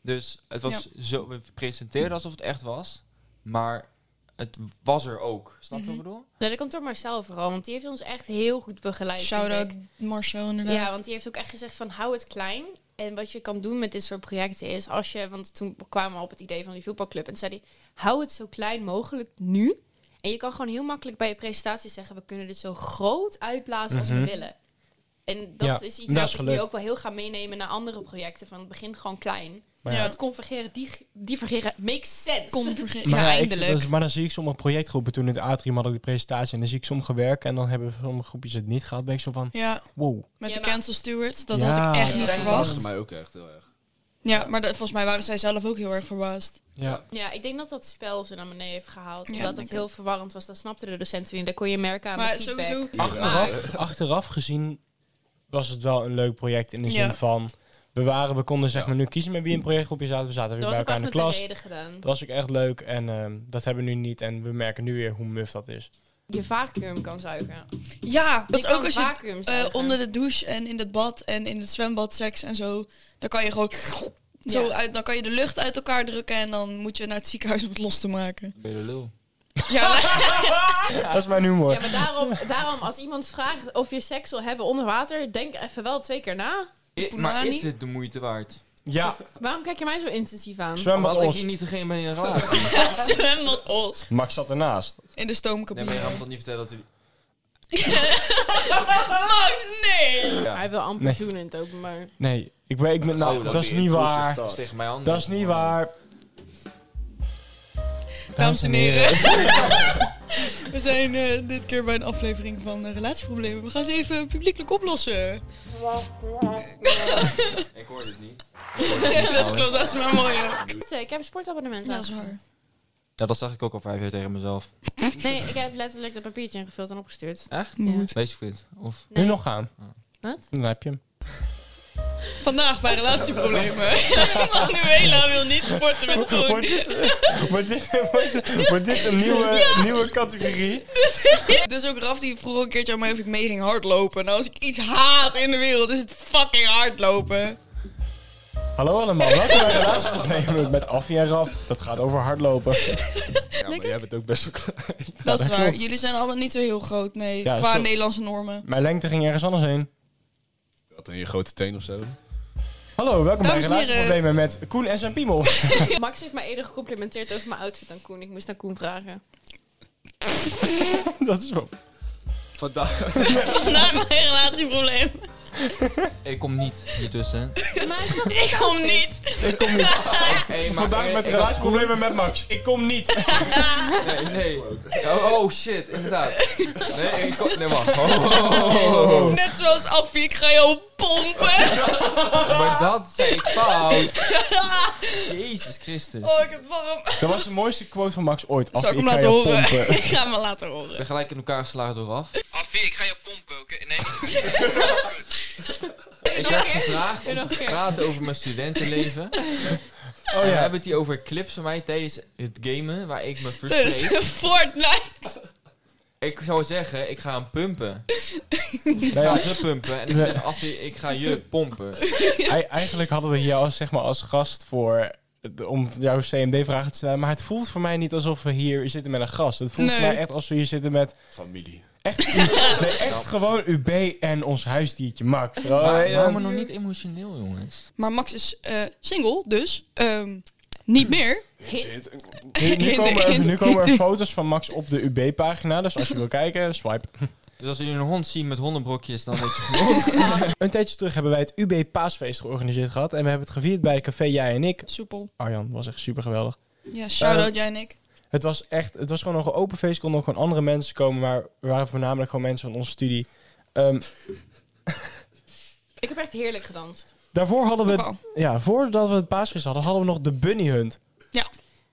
Dus het was zo, we presenteerden alsof het echt was, maar het was er ook. Snap je
Mhm.
wat ik bedoel?
Nee, dat komt door Marcel vooral. Want die heeft ons echt heel goed begeleid. vind
Shout-out
ik.
Marcel inderdaad.
Ja, want die heeft ook echt gezegd van hou het klein. En wat je kan doen met dit soort projecten is als je... Want toen kwamen we op het idee van die voetbalclub. En toen zei hij, hou het zo klein mogelijk nu. En je kan gewoon heel makkelijk bij je presentatie zeggen... we kunnen dit zo groot uitblazen als
Mhm.
we willen. En dat
Ja,
is iets
dat
dat
is
ik nu
gelukt.
ook wel heel ga meenemen naar andere projecten. Van begin gewoon klein.
Maar
Ja.
ja,
Het convergeren, die divergeren, makes sense.
Converge-
Maar,
ja,
ja, ik-
eindelijk.
dat is- maar dan zie ik sommige projectgroepen, toen in het Atrium had ik de presentatie, en dan zie ik sommige werken, en dan hebben sommige groepjes het niet gehad. ben ik zo van,
Ja,
wow.
met
Ja,
de
maar-
cancel stewards. Dat
Ja.
had ik echt
Ja,
niet
dat
dat verraste
verwacht.
mij ook echt heel erg.
Ja, maar dat- volgens mij waren zij zelf ook heel erg verbaasd.
Ja.
Ja, ik denk dat dat spel ze naar beneden heeft gehaald.
Ja,
omdat
denk
het heel verwarrend was. Dat snapten de docenten niet. Dat kon je merken aan
Maar
de feedback.
sowieso-
Achteraf, achteraf gezien was het wel een leuk project in de zin
Ja.
van, we, waren, we konden zeg
Ja.
maar nu kiezen met wie in projectgroepje zaten. We zaten weer
Dat was
bij
ook
elkaar
echt
in de
met de
klas.
reden gedaan.
Dat was ook echt leuk en ehm, dat hebben we nu niet en we merken nu weer hoe muf dat is.
Je vacuüm kan zuigen.
Ja, dat
je
ook
kan
als je
vacuüm
eh,
zuigen.
onder de douche en in het bad en in het zwembad seks en zo. Dan kan je gewoon zo
Ja.
uit, dan kan je de lucht uit elkaar drukken en dan moet je naar het ziekenhuis om het los te maken.
Ben je de lul?
Ja,
Dat is mijn humor.
Ja, maar daarom, daarom, als iemand vraagt of je seks wil hebben onder water, denk even wel twee keer na.
maar
Poenani?
is dit de moeite waard?
Ja,
Waarom kijk je mij zo intensief aan?
zwembad
Omdat ik
ons.
hier niet degene ben in een relatie.
zwembad os.
Max zat ernaast.
In de
Nee, maar je
stoomcabine.
gaat me toch niet vertellen dat u...
Max, nee!
Hij
Ja,
wil amper
Nee.
zoenen in het openbaar.
Nee, ik ben, ik ben nou,
Zo,
dat is
die
niet
inclusive
waar.
dat is
thought.
tegen mij anders.
Dat is niet waar.
Dames en heren. We zijn eh, dit keer bij een aflevering van eh, relatieproblemen. We gaan ze even publiekelijk oplossen.
Ik hoor dit niet.
dat klopt, dat is maar mooi. hè.
Ik heb een sportabonnement
Ja, dat is
aangevraagd.
waar.
Ja, dat zag ik ook al vijf jaar tegen mezelf.
Nee, ik heb letterlijk dat papiertje ingevuld en opgestuurd.
Echt?
Ja.
Moet.
Basically. Of...
Nee.
Nu nog gaan.
Wat?
Dan heb je hem.
Vandaag bij relatieproblemen. Manuela wil niet sporten met Koen.
Wordt dit, wordt dit, wordt dit- wordt dit een nieuwe, nieuwe categorie?
Dus ook Raf die vroeg een keertje aan mij of ik mee ging hardlopen. Nou, als ik iets haat in de wereld, is het fucking hardlopen.
Hallo allemaal, welkom bij Relatieproblemen met Affie en Raf. Dat gaat over hardlopen.
Ja, maar jij bent ook best wel klein.
dat is
dat
waar.
klopt.
Jullie zijn allemaal niet zo heel groot, nee.
Ja,
qua
zo-
Nederlandse normen.
Mijn lengte ging ergens anders heen.
Wat een je grote teen of zo.
Hallo, welkom bij
Dames en heren.
Relatieproblemen met Koen en zijn piemel.
Max heeft mij eerder gecomplimenteerd over mijn outfit dan Koen. Ik moest naar Koen vragen.
Dat is wel...
Vandaag.
Vandaag bij relatieprobleem.
Ik kom niet hiertussen.
Maar hij is nog-
Ik kom niet.
Ik kom niet.
Hey, maar-
Vandaag
hey,
met
ik had
Relatieproblemen met Max. Ik kom niet.
Koen- Nee, nee. Oh, oh, shit, inderdaad. Nee, ik kom... Nee, wacht. Oh, oh, oh, oh.
Net zoals Affie, ik ga jou pompen.
Maar dat zei ik fout. Jezus Christus.
Oh, ik heb warm.
Dat was de mooiste quote van Max ooit.
Zal
Affie,
ik hem
ga
laten
jou
horen?
pompen.
ik ga hem wel laten
Ik
horen.
ben gelijk in elkaar geslagen door af.
Affie, ik ga je pompen, oké? Nee, niet.
Ik werd gevraagd
Nog
om
een
te
keer.
praten over mijn studentenleven.
Oh
We
ja.
hebben het hier over clips van mij tijdens het gamen, waar ik me frustreer.
Dus Fortnite.
Ik zou zeggen, ik ga hem pumpen. Ik
Nou ja,
ga ze pumpen. En ik zeg, Affie, ik ga je pompen.
ei- eigenlijk hadden we jou als, zeg maar, als gast voor... de- Om jouw CMD-vragen te stellen. Maar het voelt voor mij niet alsof we hier zitten met een gast. Het voelt voor
Nee.
mij echt alsof we hier zitten met...
Familie.
Echt, nee, echt gewoon UB en ons huisdiertje Max. Oh,
Maar,
nee,
waarom
dan-
nog niet emotioneel, jongens?
Maar Max is eh, single, dus ehm, niet meer.
Hint, hint.
Nu- nu,
Hint,
komen er,
hint,
nu komen er
hint.
foto's van Max op de UB-pagina. Dus als je wil kijken, swipe.
Dus als jullie een hond zien met hondenbrokjes, dan weet je genoeg.
Ah.
Een tijdje terug hebben wij het UB Paasfeest georganiseerd gehad. En we hebben het gevierd bij Café Jij en ik.
Soepel.
Arjan was echt super geweldig.
Ja, shout-out jij en ik.
Het was echt, het was gewoon nog een open feest. Konden ook gewoon andere mensen komen. Maar er waren voornamelijk gewoon mensen van onze studie. Ehm,
Ik heb echt heerlijk gedanst.
daarvoor hadden we,
Ook
het-
al.
ja, voordat we het paasfeest hadden, hadden we nog de bunny hunt.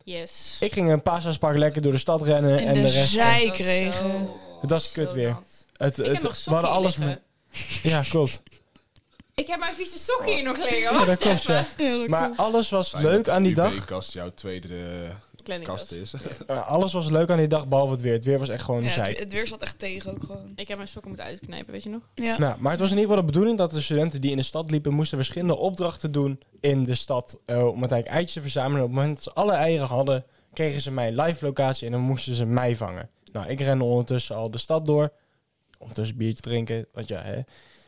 Yes.
Ik ging een paasaspark lekker door de stad rennen. En,
En
de
de
rest.
zij- Hij
Dat was
kreeg,
zo-
eh,
Het was kut
zo
weer.
nat.
het,
Ik
het-
heb nog
we hadden
sokken
alles
alles liggen.
met- Ja, klopt.
Ik heb mijn vieze sokken hier nog liggen.
Oh. Ja,
Wacht
dat klopt,
even.
ja.
Ja, dat
Maar
klopt.
alles was
Fijn
leuk
dat
aan die
de
dag.
UB-kast jouw tweede eh,
Kleine
kast
kast.
is.
Eh, alles was leuk aan die dag, behalve het weer. Het weer was echt gewoon
Ja,
een
het,
zeik.
het weer zat echt tegen ook gewoon.
Ik heb mijn sokken moeten uitknijpen, weet je nog?
Ja.
Nou, maar het was in ieder geval de bedoeling dat de studenten die in de stad liepen... moesten verschillende opdrachten doen in de stad. eh, om uiteindelijk eitjes te verzamelen. En op het moment dat ze alle eieren hadden, kregen ze mijn live locatie... en dan moesten ze mij vangen. Nou, ik rende ondertussen al de stad door. Ondertussen biertje drinken, want ja, hè.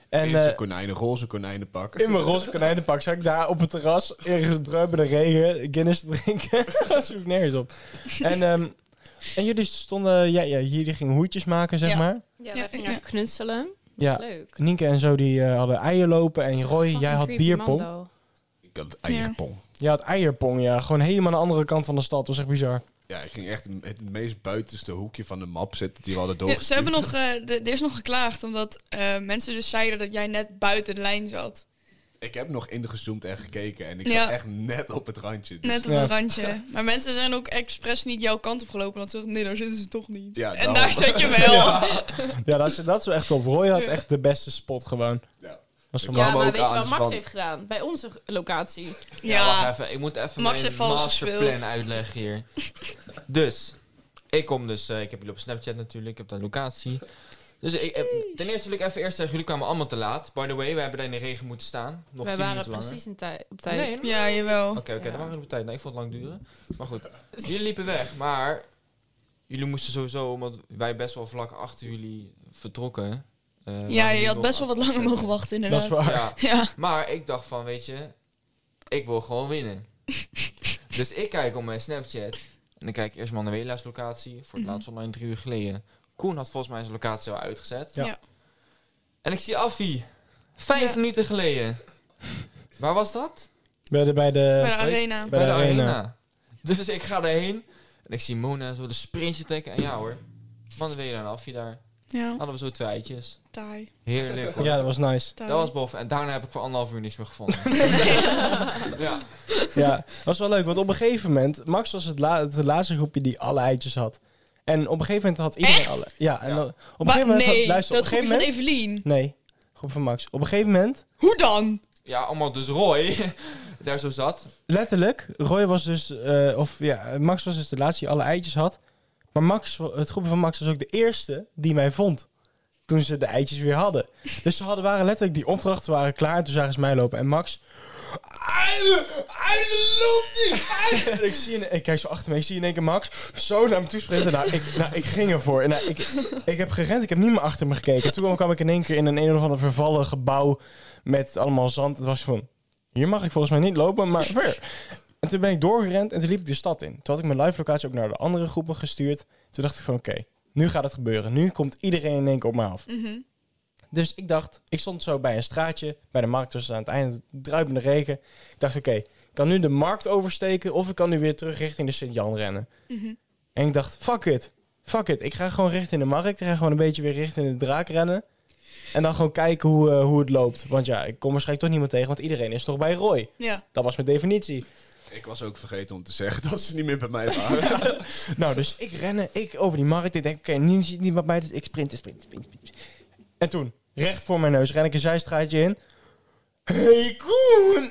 En
Eerst
eh,
een konijnen, roze konijnen pakken.
in mijn roze konijnenpak zat ik daar op het terras... ergens druipen de regen, Guinness te drinken. Dat zoek ik nergens op. En, ehm, en jullie stonden... Ja, ja, jullie gingen hoedjes maken, zeg
Ja.
maar.
Ja,
Ja, wij gingen
ja.
echt knutselen.
Ja,
Leuk.
Nienke en zo die eh, hadden eieren lopen. En Roy, jij had bierpong.
Ik had eierpong.
Jij had eierpong, ja. Gewoon helemaal aan de andere kant van de stad. Dat was echt bizar.
Ja, ik ging echt in het meest buitenste hoekje van de map zitten die we hadden
Nou,
Ja, ze
doorgestuurd.
hebben nog, eh, de- er is nog geklaagd omdat eh, mensen dus zeiden dat jij net buiten de lijn zat.
Ik heb nog ingezoomd en gekeken en ik
Ja.
zat echt net op het randje. Dus
Net op
Ja.
een randje. Maar mensen zijn ook expres niet jouw kant op gelopen. Want ze zeggen, nee, daar zitten ze toch niet.
Ja,
en
daarom.
daar zat je wel.
Ja, dat is, dat is wel echt top. Roy had echt de beste spot gewoon.
Ja.
Was gewoon
Ja,
kwamen
maar
ook
weet je
aan
wat Max
van-
heeft gedaan? Bij onze locatie.
Ja,
Ja.
wacht even. Ik moet even
Max
mijn
heeft vals gespeeld.
masterplan uitleggen hier. dus, ik kom dus... eh, ik heb jullie op Snapchat natuurlijk. Ik heb de locatie. Dus ik, eh, ten eerste wil ik even eerst zeggen... Jullie kwamen allemaal te laat. By the way, we hebben daar in de regen moeten staan. Nog
wij
tien
waren
minuten langer.
precies in tij- op tijd.
Nee,
Ja, jawel.
Oké, oké,
Ja.
dan waren we op tijd. Nee, ik vond het lang duren. Maar goed, jullie liepen weg, maar jullie moesten sowieso, want wij best wel vlak achter jullie vertrokken. eh,
Ja,
waren
je had
nog
best wel wat
aan het
langer mogen
opzetten.
wachten
Dat is
inderdaad.
waar.
Ja,
Ja.
maar ik dacht van, weet je, ik wil gewoon winnen. dus ik kijk op mijn Snapchat en dan kijk ik eerst Manuela's locatie, voor
Mhm.
het laatst online drie uur geleden. Koen had volgens mij zijn locatie al uitgezet.
Ja.
Ja.
En ik zie Affie, vijf
Ja.
minuten geleden. Waar was dat?
Bij de... Bij de
Bij de arena.
Bij
bij,
de
de,
arena.
arena. Dus ik ga daarheen en ik zie Mona zo de sprintje trekken. En ja hoor, Manuela en Affie daar.
Ja,
Hadden we zo twee eitjes.
taai.
Heerlijk hoor.
Ja, dat was nice.
taai.
Dat was boven. En daarna heb ik voor anderhalf uur niks meer gevonden. ja.
Ja, dat was wel leuk. Want op een gegeven moment... Max was het, la- het laatste groepje die alle eitjes had. En op een gegeven moment had iedereen
Echt?
alle... Ja, en
Ja.
dan- op een
Maar
gegeven moment... had-
nee,
luister, op
dat
een
groepje
gegeven
van
moment...
Evelien.
Nee, groep van Max. Op een gegeven moment...
Hoe dan?
ja, allemaal dus Roy daar zo zat.
Letterlijk, Roy was dus, eh, of ja, Max was dus de laatste die alle eitjes had. Maar Max, wa- het groepje van Max was ook de eerste die mij vond. Toen ze de eitjes weer hadden. Dus ze hadden, waren letterlijk, die opdrachten waren klaar. En toen zagen ze mij lopen. En Max... Uilen! Uilen loopt niet! Uilen! En ik, zie in, ik kijk zo achter me. Ik zie in één keer Max zo naar me toe sprinten. Nou, ik, nou, ik ging ervoor. En nou, ik, ik heb gerend. Ik heb niet meer achter me gekeken. Toen kwam ik in één keer in een een of ander vervallen gebouw. Met allemaal zand. Het was van... Hier mag ik volgens mij niet lopen, maar ver. En toen ben ik doorgerend en toen liep ik de stad in. Toen had ik mijn live locatie ook naar de andere groepen gestuurd. Toen dacht ik van oké, nu gaat het gebeuren. Nu komt iedereen in één keer op me af.
Mhm.
Dus ik dacht, ik stond zo bij een straatje, bij de markt, dus aan het einde druipende regen. Ik dacht oké, ik kan nu de markt oversteken of ik kan nu weer terug richting de Sint-Jan rennen.
Mhm.
En ik dacht, fuck it, fuck it. Ik ga gewoon richting de markt, ik ga gewoon een beetje weer richting de draak rennen. En dan gewoon kijken hoe, eh, hoe het loopt. Want ja, ik kom waarschijnlijk toch niemand tegen, want iedereen is toch bij Roy.
Ja.
Dat was mijn definitie.
Ik was ook vergeten om te zeggen dat ze niet meer bij mij waren.
Nou, dus ik rennen, ik over die markt. Ik denk, oké, nu ziet niemand mij, dus ik sprint, sprint, sprint, sprint. En toen, recht voor mijn neus, ren ik een zijstraatje in. hey, Koen!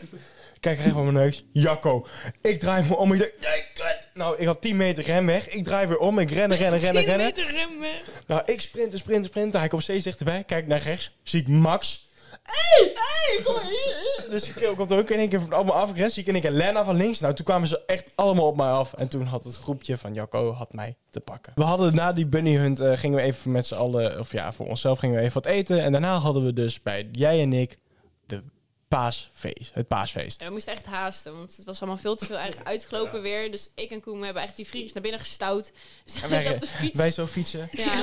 Kijk recht voor mijn neus. Jacco. Ik draai me om. Ik denk, nee, kut! Nou, ik had 10 meter ren weg. Ik draai weer om. Ik rennen, rennen, rennen,
10
rennen.
meter remmen.
Nou, ik sprinten, sprinten, sprinten. Hij komt steeds dichterbij. Kijk naar rechts. Zie ik Max. Hey, hey, kom hier. Dus ik eh, komt ook in één keer van allemaal af. Ik ren, Zie ik in één keer Lena van links. Nou, toen kwamen ze echt allemaal op mij af. En toen had het groepje van Jacco had mij te pakken. We hadden na die bunny hunt eh, gingen we even met z'n allen... Of ja, voor onszelf gingen we even wat eten. En daarna hadden we dus bij jij en ik de paasfeest. Het paasfeest.
Ja, we moesten echt haasten, want het was allemaal veel te veel eigenlijk uitgelopen weer. Dus ik en Koen hebben echt die vriendjes naar binnen gestout. Zijn
wij-
ze op de fiets.
Wij zo fietsen.
ja.
Ja,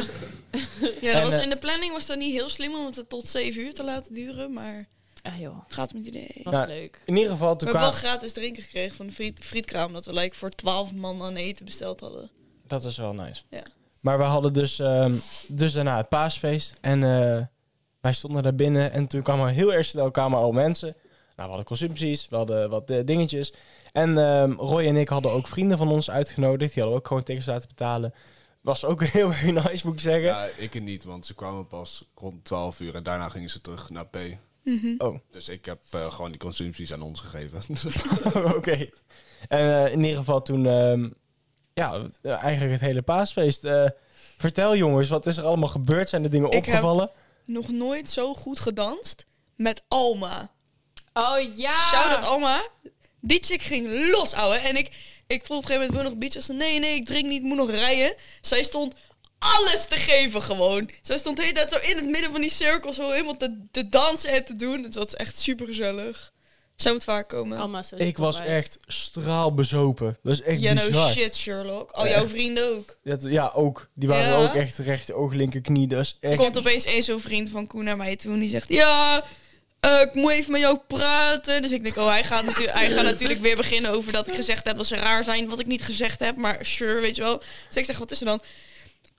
dat
En,
was,
eh,
in de planning was dat niet heel slim om het tot 7 uur te laten duren, maar
Ah joh,
gaat met idee.
was
Ja.
leuk.
In ieder geval,
We
toen
hebben wel
kwamen...
gratis drinken gekregen van de friet, frietkraam, omdat we like, voor 12 man aan eten besteld hadden.
Dat is wel nice.
Ja.
Maar we hadden dus, ehm, dus daarna het paasfeest. En eh, wij stonden daar binnen. En toen kwamen heel erg snel kwamen al mensen. Nou, we hadden consumpties, we hadden wat eh, dingetjes. En ehm, Roy en ik hadden ook vrienden van ons uitgenodigd. Die hadden we ook gewoon tickets laten betalen. Was ook heel erg nice, moet ik zeggen.
ja, ik niet, want ze kwamen pas rond 12 uur en daarna gingen ze terug naar P.
Oh.
Dus ik heb eh, gewoon die consumpties aan ons gegeven.
Oké. En eh, in ieder geval toen... ehm, ja, eigenlijk het hele paasfeest. Eh, vertel jongens, wat is er allemaal gebeurd? Zijn er dingen
Ik heb-
opgevallen?
Nog nooit zo goed gedanst met Alma.
Oh ja!
Shout out Alma. Die chick ging los, ouwe. En ik, ik vroeg op een gegeven moment, wil je nog biertjes? Ze zei, Nee, nee, ik drink niet, ik moet nog rijden. Zij stond alles te geven gewoon. Zij stond de hele tijd zo in het midden van die cirkel, zo helemaal te, te dansen en te doen. Dus dat is echt super gezellig. Zij moet vaak komen.
Allemaal zo
Ik was
superwijs.
echt straalbezopen. Dat was echt
Ja, no
bizar.
shit, Sherlock. Al
Ja,
jouw
echt.
vrienden ook.
Dat, ja, ook. Die waren
Ja.
ook echt recht oog, linker knie. Dat is
Er
echt...
komt opeens eens zo'n vriend van Koen naar mij toe en die zegt... Ja, eh, ik moet even met jou praten. Dus ik denk, oh, hij gaat, natu- hij gaat natuurlijk weer beginnen over dat ik gezegd heb dat ze raar zijn. Wat ik niet gezegd heb, maar sure, weet je wel. Dus ik zeg, wat is er dan?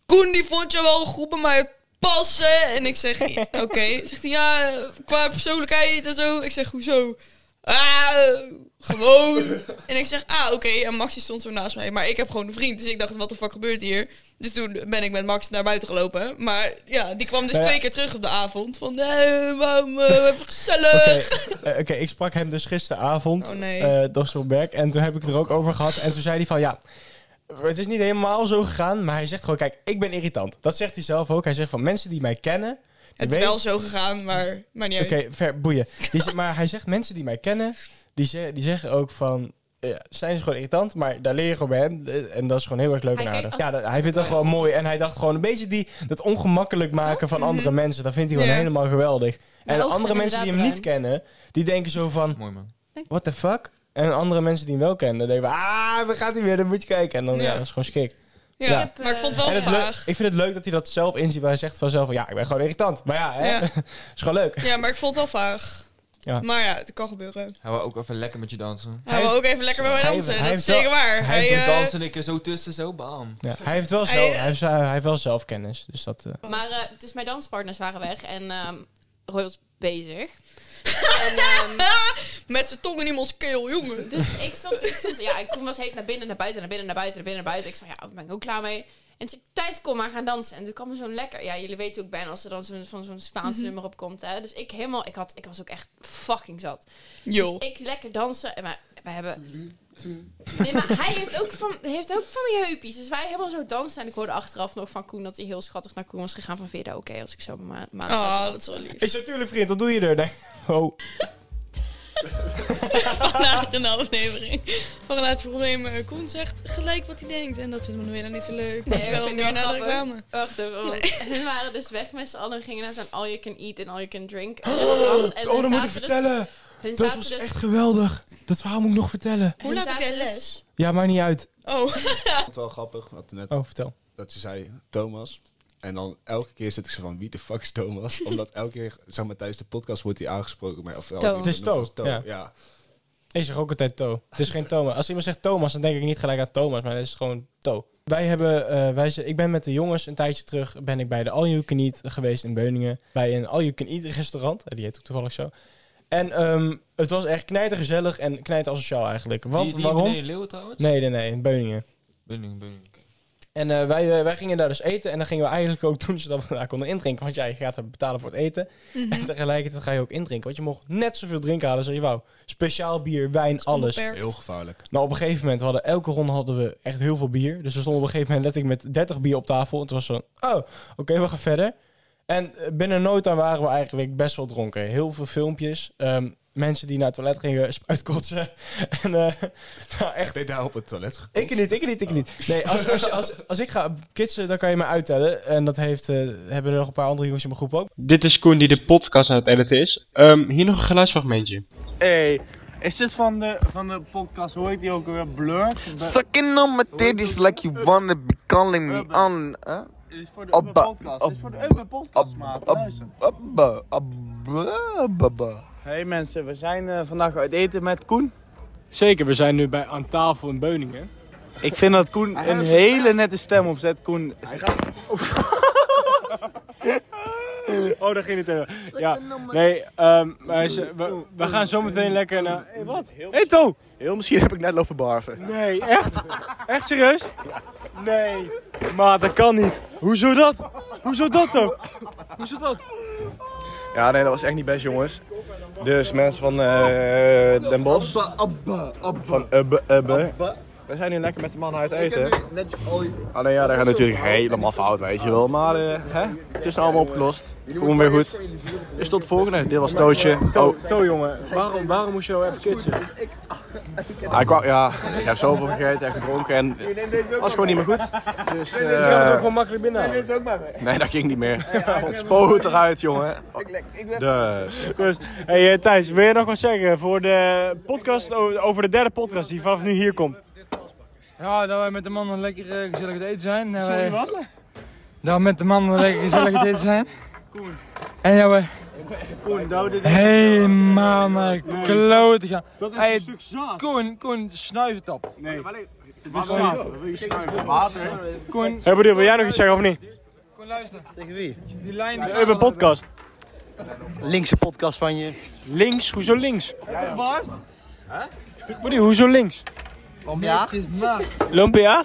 Koen, die vond je wel goed bij mij passen. En ik zeg, oké. Zegt hij, ja, eh, qua persoonlijkheid en zo. Ik zeg, hoezo? Ah, gewoon. En ik zeg, ah, oké. En Max die stond zo naast mij. Maar ik heb gewoon een vriend. Dus ik dacht, wat de fuck gebeurt hier? Dus toen ben ik met Max naar buiten gelopen. Maar ja, die kwam dus
Nou ja.
twee keer terug op de avond. Van, nee, waarom, eh, even gezellig.
Oké, eh, oké, ik sprak hem dus gisteravond.
Oh, nee.
eh, dat is wel werk. En toen heb ik het er ook over gehad. En toen zei hij van, ja... Het is niet helemaal zo gegaan, maar hij zegt gewoon... Kijk, ik ben irritant. Dat zegt hij zelf ook. Hij zegt van, mensen die mij kennen...
Het is
weet-
wel zo gegaan, maar, maar niet uit.
Oké, ver, boeien. Die ze- maar hij zegt, mensen die mij kennen, die, ze- die zeggen ook van... Ja, zijn ze gewoon irritant, maar daar leer je gewoon bij hem. Eh, En dat is gewoon heel erg leuk
Hij
en
kijkt
aardig.
als-
Ja, dat- hij vindt dat gewoon mooi. En hij dacht gewoon een beetje die, dat ongemakkelijk maken van andere mensen. Dat vindt hij gewoon
Ja.
helemaal geweldig. En
Mhm. ogen
andere
zijn
mensen die hem
inderdaad
niet kennen, die denken zo van...
Mooi man.
What the fuck? En andere mensen die hem wel kennen, denken van... Ah, we gaat hij weer, dan moet je kijken. En dan, ja,
Ja.
dat is gewoon schik.
Ja,
Ja. Ik
maar ik vond het
En
wel
het leuk-
vaag.
ik vind het leuk dat hij dat zelf inziet. Waar hij zegt vanzelf van... Ja, ik ben gewoon irritant. Maar ja, hè?
Ja.
is gewoon leuk.
Ja, maar ik vond het wel vaag.
Ja.
Maar ja, het kan gebeuren.
Hij wou ook even lekker met je dansen.
Hij wil
heeft-
ook even lekker bij mij
Hij-
dansen. dat
hij
is
heeft wel-
zeker waar.
Hij
Hij,
hey,
eh,
dansen en ik er zo tussen, zo bam.
Ja, hij, heeft wel
Hij,
zelf,
eh,
hij, heeft, wel- hij heeft wel zelfkennis. Dus dat, eh,
Maar eh, dus mijn danspartners waren weg en ehm Roy was bezig. en, ehm,
met zijn tong in iemands keel, jongen.
dus ik zat iets tussen. Ja, ik Koen was heet naar binnen, naar buiten, naar binnen, naar buiten, naar binnen, naar buiten. Ik zei, ja, daar ben ik ook klaar mee. En toen zei ik, Thijs, kom maar gaan dansen. En toen kwam er zo'n lekker... Ja, jullie weten ook bijna als er dan zo'n, van zo'n Spaans
Mhm.
nummer op komt. Hè? Dus ik helemaal... Ik, had, ik was ook echt fucking zat.
Yo.
Dus ik lekker dansen. En wij, wij hebben... Nee, maar hij heeft ook, van, heeft ook van die heupies. Dus wij helemaal zo dansen. En ik hoorde achteraf nog van Koen dat hij heel schattig naar Koen was gegaan. Van Vida, oké, als ik zo mijn ma- maand had,
Oh,
dan-
dat is wel lief.
Ik zei, tuurlijk vriend, wat doe je er? Nee. Oh,
Vandaag een aflevering van Relatie Probleem. eh, Koen zegt gelijk wat hij denkt. En dat vindt Manuela niet zo leuk.
Nee,
want
dat
wel
vind ik
meer
wel
naar de
grappig.
reclame.
Wacht even, want hun waren dus weg met z'n allen en gingen naar zo'n all you can eat en all you can drink restaurant. En
oh
hun
dat moet ik
zaten dus-
vertellen.
hun
Dat
zaten
was
dus-
echt geweldig. Dat verhaal moet ik nog vertellen.
Hoe
hun
laat heb
zaten
jij
dus-
les?
Ja, maar niet uit.
Oh,
vond het wel grappig, want net
Oh, vertel.
dat je zei Thomas. En dan elke keer zit ik zo van, wie de fuck is Thomas? Omdat elke keer, zeg maar, tijdens de podcast wordt hij aangesproken. Maar, of, elke keer
Het
is
wordt het
To,
als
ja. Ik zeg ook altijd To. Het is geen Thomas. Als iemand zegt Thomas, dan denk ik niet gelijk aan Thomas, maar het is gewoon To. Wij hebben, eh, wij, ze- ik ben met de jongens een tijdje terug ben ik bij de All You Can Eat geweest in Beuningen. Bij een All You Can Eat restaurant. Eh, Die heet ook toevallig zo. En ehm, het was echt knijtergezellig en knijterasociaal eigenlijk. Want
die, die
waarom?
meneer Leeuw trouwens?
Nee, nee, nee. In Beuningen.
Beuningen, Beuningen. oké.
Dus- En eh, wij, eh, wij gingen daar dus eten. En dan gingen we eigenlijk ook doen zodat we daar konden indrinken. Want jij gaat er betalen voor het eten. En tegelijkertijd ga je ook indrinken. Want je mocht net zoveel drinken halen als je wou. Speciaal bier, wijn, alles.
onbeperkt.
heel gevaarlijk.
Nou, op een gegeven moment we hadden elke ronde hadden we echt heel veel bier. Dus we stonden op een gegeven moment letterlijk met 30 bier op tafel. En toen was het van, oh, oké, we gaan verder. En eh, binnen nood aan waren we eigenlijk best wel dronken. Heel veel filmpjes. ehm, mensen die naar het toilet gingen spuitkotsen. En eh, nou, echt
Echt deed daar op het toilet gekomen.
ik niet, ik niet, ik niet. Nee, als, als, je- als, als ik ga kitsen, dan kan je me uittellen. En dat heeft, eh, hebben er nog een paar andere jongens in mijn groep ook.
Dit is Koen die de podcast aan het editen is. Ehm, hier nog een geluidsfragmentje.
Hey, is dit van de, van de podcast, hoe heet die ook weer? Blur? Be-
Sucking on my titties like you wanna be calling me
Urban.
on. Huh?
Dit is voor de
Abba-
Ubbe podcast. Dit is voor de Ubbe podcast,
Abba-
maat.
Abba-
Luister.
Abba, abba, abba.
Hey mensen, we zijn eh, vandaag uit eten met Koen.
Zeker, we zijn nu bij, aan tafel in Beuningen.
Ik vind dat Koen een hele nette stem opzet. Koen,
Oh, daar ging het even. Ja, nee, ehm, wij z- we, we gaan zo meteen lekker naar... Hé, wat? Hé, To!
Heel misschien heb ik net lopen barven.
Nee, echt? Echt serieus? Nee. Maar dat kan niet. Hoezo dat? Hoezo dat dan? Hoezo dat?
Ja, nee, dat was echt niet best, jongens. Dus mensen van eh Den Bosch,
Abba, abba, abba.
van Ubbe, Ubbe.
abba.
We zijn nu lekker met de mannen uit
Ik
eten.
heb weer net al je-
Alleen ja, dat gaat natuurlijk helemaal fout, weet je wel. Maar eh, hè? het is nou allemaal opgelost. Komt weer goed. Dus tot volgende. Dit was Tootje.
To,
Oh,
to jongen, waarom, waarom moest je nou even kitsen?
Oh, hij kwam, ja, ik heb zoveel gegeten en gedronken en het was gewoon niet meer goed. Dus, eh,
Je kan het ook gewoon makkelijk binnenhalen.
nee, dat ging niet meer. Het spoot eruit, jongen. Dus.
Dus, hey, eh, Thijs, wil je nog wat zeggen voor de podcast over, over de derde podcast die vanaf nu hier komt?
Ja, dat wij met de mannen lekker eh, gezellig het eten zijn. En wij- Dat we met de mannen lekker gezellig het eten zijn. En ja, we helemaal naar kloten gaan.
Dat is
Hey,
een stuk zaad.
Koen, Koen, snuif het op. Koen,
Hey, bedoel, wil jij nog iets zeggen of niet?
Koen luister. Tegen wie? Die lijn die
Urban Podcast.
linkse podcast van je.
Links, hoezo links?
Waar?
Bedoel, hoezo links?
Ja?
Lumpia?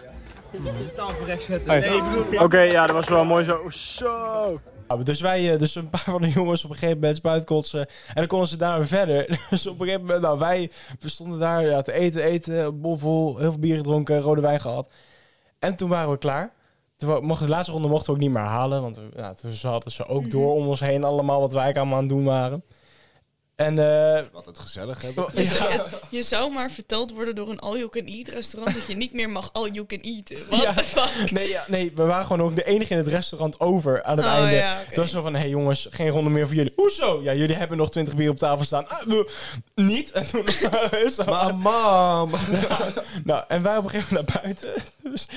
Oké, ja, dat was wel mooi zo. Zo. Dus wij, eh, dus een paar van de jongens op een gegeven moment spuitkotsen. En dan konden ze daar weer verder. Dus op een gegeven moment, nou wij we stonden daar ja, te eten, eten, bomvol, heel veel bier gedronken, rode wijn gehad. En toen waren we klaar. Toen wa- mochten, de laatste ronde mochten we ook niet meer halen, want we- ja, toen ze hadden ze ook door om ons heen allemaal wat wij eigenlijk allemaal aan het doen waren. En eh,
Wat het gezellig hebben.
ja,
Je zou maar verteld worden door een all-you-can-eat restaurant dat je niet meer mag all-you-can-eat. What
Ja.
the fuck?
nee, ja, nee, we waren gewoon ook de enige in het restaurant over aan het
Oh,
einde.
ja, oké.
Het was zo van, hé hey jongens, geen ronde meer voor jullie. Hoezo? Ja, jullie hebben nog 20 bier op tafel staan. Ah, we- niet. En toen is dat-
Maar mam!
Nou, en wij op een gegeven moment naar buiten. Dus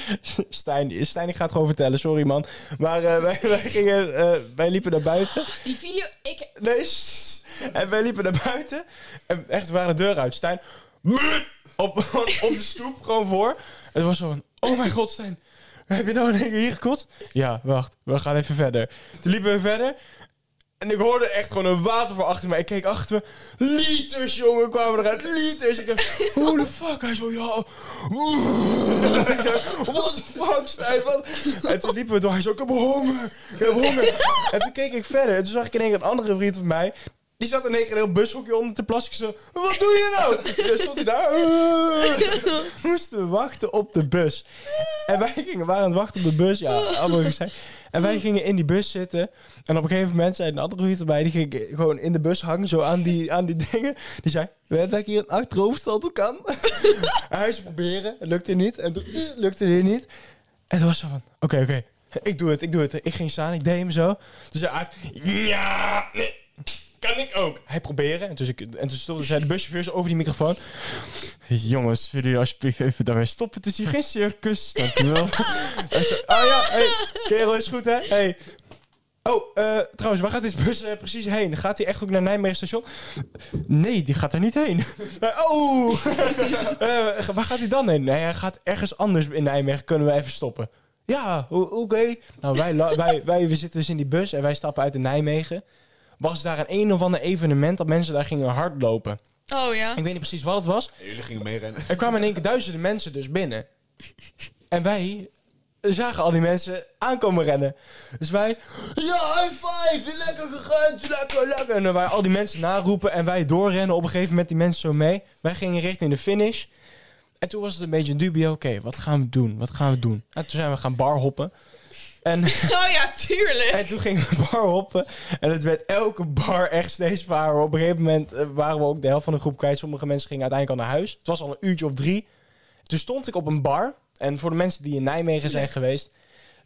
Stijn, Stijn, ik ga het gewoon vertellen, sorry man. Maar eh, wij, wij, gingen, eh, wij liepen naar buiten.
Die video, ik,
Nee, sss. En wij liepen naar buiten. En echt, we waren de deur uit. Stijn, brrr, op, op de stoep, gewoon voor. En het was zo van, oh mijn god, Stijn. Heb je nou in één keer hier gekotst? Ja, wacht, we gaan even verder. Toen liepen we verder. En ik hoorde echt gewoon een waterval achter me. Ik keek achter me. Liters, jongen, kwamen eruit. Liters. Ik dacht, hoe de fuck? Hij zo, ja. Ik dacht, what the fuck, Stijn? Wat? En toen liepen we door. Hij zo, ik heb honger. Ik heb honger. En toen keek ik verder. En toen zag ik in één keer een andere vriend van mij. Die zat in één keer een heel bushokje onder te plassen. Ik zo, wat doe je nou? En stond hij daar. Moesten we wachten op de bus. En wij gingen, waren aan het wachten op de bus. Ja, allemaal gezegd. En wij gingen in die bus zitten. En op een gegeven moment zei een andere vriend erbij. Die ging gewoon in de bus hangen. Zo aan die, aan die dingen. Die zei, weet dat ik hier een achteroverstotel kan? en hij zou proberen. Het lukte niet. En toen eh, lukte het weer niet. En toen was ze van, oké, oké. Ik doe het, ik doe het. Ik ging staan, ik deed hem zo. Dus hij uit, ja, nee, kan ik ook. Hij proberen. En toen, ik, en toen stopte zei de buschauffeur over die microfoon. Jongens, willen jullie alsjeblieft even daarmee stoppen? Het is hier geen circus, dankjewel. en zo, ah ja, hey, kerel is goed hè? Hey. Oh, eh, trouwens, waar gaat deze bus eh, precies heen? Gaat hij echt ook naar Nijmegen station? Nee, die gaat er niet heen. oh! Eh, waar gaat hij dan heen? Nee, hij gaat ergens anders in Nijmegen. Kunnen we even stoppen? Ja, o- oké. Nou, wij, la- wij, wij we zitten dus in die bus en wij stappen uit in Nijmegen. Was daar een een of ander evenement dat mensen daar gingen hardlopen.
Oh ja.
Ik weet niet precies wat het was.
Jullie gingen meerennen.
Er kwamen in één keer duizenden mensen dus binnen. En wij zagen al die mensen aankomen rennen. Dus wij... Ja, high five! Lekker gegund! Lekker, lekker! En dan wij al die mensen naroepen en wij doorrennen op een gegeven moment die mensen zo mee. Wij gingen richting de finish. En toen was het een beetje een dubio. Oké, wat gaan we doen? Wat gaan we doen? En toen zijn we gaan barhoppen. En...
Oh ja, tuurlijk.
En toen gingen we bar hoppen. En het werd elke bar echt steeds zwaarder. Op een gegeven moment eh, waren we ook de helft van de groep kwijt. Sommige mensen gingen uiteindelijk al naar huis. Het was al een uurtje of drie. Toen stond ik op een bar. En voor de mensen die in Nijmegen zijn geweest.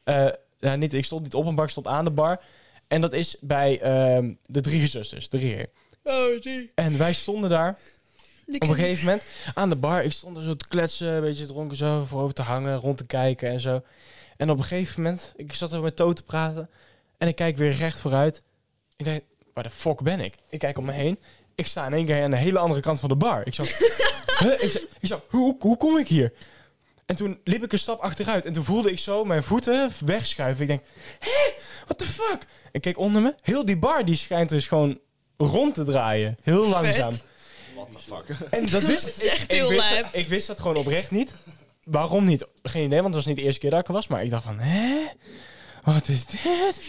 eh, nou, niet, ik stond niet op een bar, ik stond aan de bar. En dat is bij ehm, de drie zusters, de Rieger.
Oh, die.
En wij stonden daar
Die ken
op een
ik.
gegeven moment aan de bar. Ik stond er zo te kletsen, een beetje dronken zo, voorover te hangen, rond te kijken en zo. En op een gegeven moment, ik zat er met Toot te praten en ik kijk weer recht vooruit. Ik denk, waar de fuck ben ik? Ik kijk om me heen. Ik sta in één keer aan de hele andere kant van de bar. Ik zo, huh? ik zo, ik zo hoe, hoe kom ik hier? En toen liep ik een stap achteruit en toen voelde ik zo mijn voeten wegschuiven. Ik denk, hé, what the fuck? Ik keek onder me. Heel die bar die schijnt dus gewoon rond te draaien. Heel langzaam.
What the fuck?
En dat wist ik, ik, wist dat, ik wist dat gewoon oprecht niet. Waarom niet? Geen idee, want het was niet de eerste keer dat ik er was. Maar ik dacht van, hè? Wat is dit?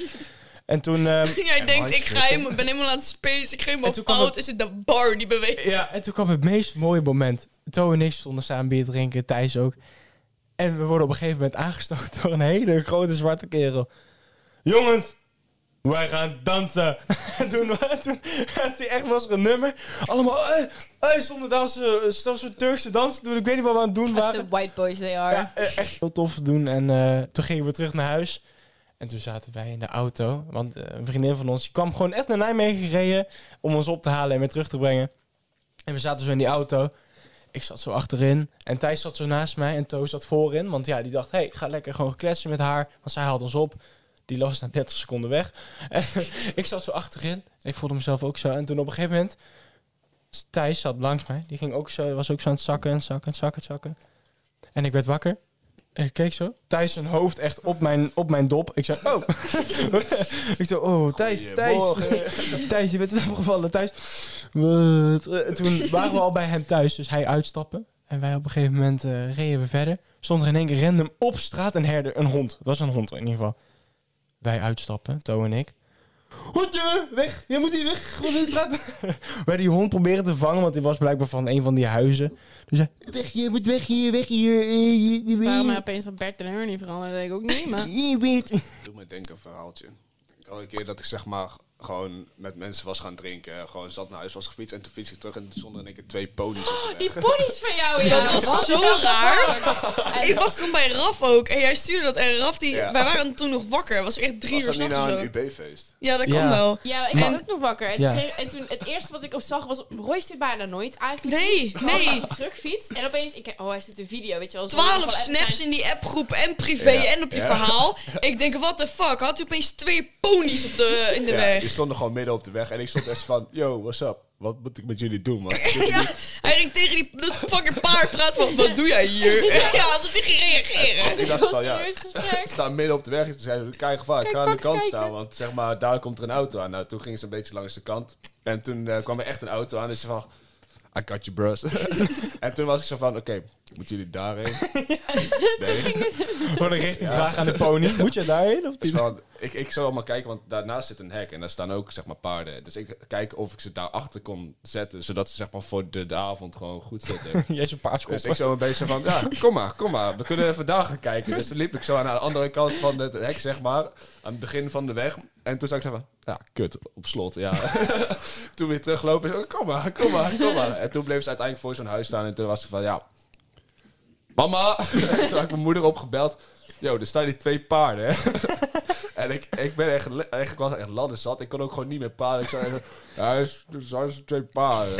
En toen... ehm,
Jij denkt, ik ga helemaal, ben helemaal aan het space, ik ga helemaal fout. Is het de bar die beweegt?
Ja, en toen kwam het meest mooie moment. Toe en ik stonden samen bier drinken, Thijs ook. En we worden op een gegeven moment aangestoken door een hele grote zwarte kerel. Jongens, wij gaan dansen. En toen, toen had hij echt was er een nummer. Allemaal, eh, eh, stonden daar zo'n zo Turkse dans te doen. Ik weet niet wat we aan het doen
Als
waren.
de white boys they are.
Ja, eh, echt heel tof te doen. En eh, toen gingen we terug naar huis. En toen zaten wij in de auto. Want eh, een vriendin van ons die kwam gewoon echt naar Nijmegen gereden. Om ons op te halen en weer terug te brengen. En we zaten zo in die auto. Ik zat zo achterin. En Thijs zat zo naast mij. En Toos zat voorin. Want ja, die dacht, hé, hey, ik ga lekker gewoon kletsen met haar. Want zij haalt ons op. Die las na 30 seconden weg. En ik zat zo achterin. En ik voelde mezelf ook zo. En toen op een gegeven moment... Thijs zat langs mij. Die ging ook zo, was ook zo aan het zakken en zakken en zakken en zakken. En ik werd wakker. En ik keek zo. Thijs zijn hoofd echt op mijn, op mijn dop. Ik zei, oh. ik zei, oh, Thijs, Thijs.
Goeiemorgen.
Thijs, je bent het opgevallen. eh, Thijs. Wat? Eh, Toen waren we al bij hem thuis. Dus hij uitstappen. En wij op een gegeven moment eh, reden we verder. Stond er in één keer random op straat een herder. Een hond. Het was een hond in ieder geval. Wij uitstappen, Toe en ik. Hondje, weg. Jij moet hier weg. Gewoon in straat. Wij die hond proberen te vangen, want die was blijkbaar van een van die huizen. Dus hij, weg hier, moet weg hier, weg hier. Eh,
Waarom hij opeens van Bert en Ernie veranderd, weet ik ook niet, maar...
Doe me denken een verhaaltje. Ik had een keer dat ik zeg maar gewoon met mensen was gaan drinken. Gewoon zat naar huis, was gefietst en toen fiets ik terug en toen stonden in één keer twee ponies op de weg.
Oh, Die ponies van jou, ja.
Dat was zo raar. Ik was toen bij Raf ook en jij stuurde dat en Raf, die,
Ja.
wij waren toen nog wakker. was echt drie
Was
uur
dat niet
s'nachts
nou een
of zo.
UB-feest?
Ja, dat
Ja.
kan wel.
Ja, ik
Maar-
was ook nog wakker. En,
Ja.
toen kreeg- en toen het eerste wat ik op zag was... Roy zit bijna nooit eigenlijk
Nee,
iets.
nee.
Als hij terugfietst. En opeens... Ik, oh, hij zit een video, weet je wel. zo lang
Twaalf
wel even
snaps
zijn.
in die appgroep en privé
Ja.
en op je
Ja.
verhaal. Ik denk, wat de fuck? Had u opeens twee ponies op de, in de
Ja,
weg?
die stonden gewoon midden op de weg en ik stond echt van, yo, what's up? Wat moet ik met jullie doen, man?
ja, hij ging tegen die dat fucking paard praten van, wat doe jij hier? ja, alsof die ging reageren.
Ik dacht van, ja, ik sta midden op de weg. Ze zeiden, kijk gevaar, ik ga aan de kant staan. Want zeg maar, daar komt er een auto aan. Nou, toen gingen ze een beetje langs de kant. En toen eh, kwam er echt een auto aan. Dus ze van, I got you, bros. en toen was ik zo van, oké, moeten jullie daarheen? nee.
Gewoon een richtingvraag aan de pony. Moet je daarheen of
Dus van, ik, ik zou allemaal kijken, want daarnaast zit een hek. En daar staan ook, zeg maar, paarden. Dus ik kijk of ik ze daarachter kon zetten. Zodat ze, zeg maar, voor de, de avond gewoon goed zitten.
Jij is een paardskoppen.
Dus ik zo een beetje van, ja, kom maar, kom maar. We kunnen even daar gaan kijken. Dus toen liep ik zo aan de andere kant van het hek, zeg maar. Aan het begin van de weg. En toen zag ik zo van, ja, kut, op slot, ja. toen weer teruglopen. Zo, kom maar, kom maar, kom maar. En toen bleef ze uiteindelijk voor zo'n huis staan. En toen was ik van, ja, mama. toen had ik mijn moeder opgebeld. Yo, er staan die twee paarden, hè. En ik, ik ben echt, le- echt, ik was echt ladder zat. Ik kon ook gewoon niet meer paarden. Ik zei, even, ja, er is- er zijn zo'n twee paarden.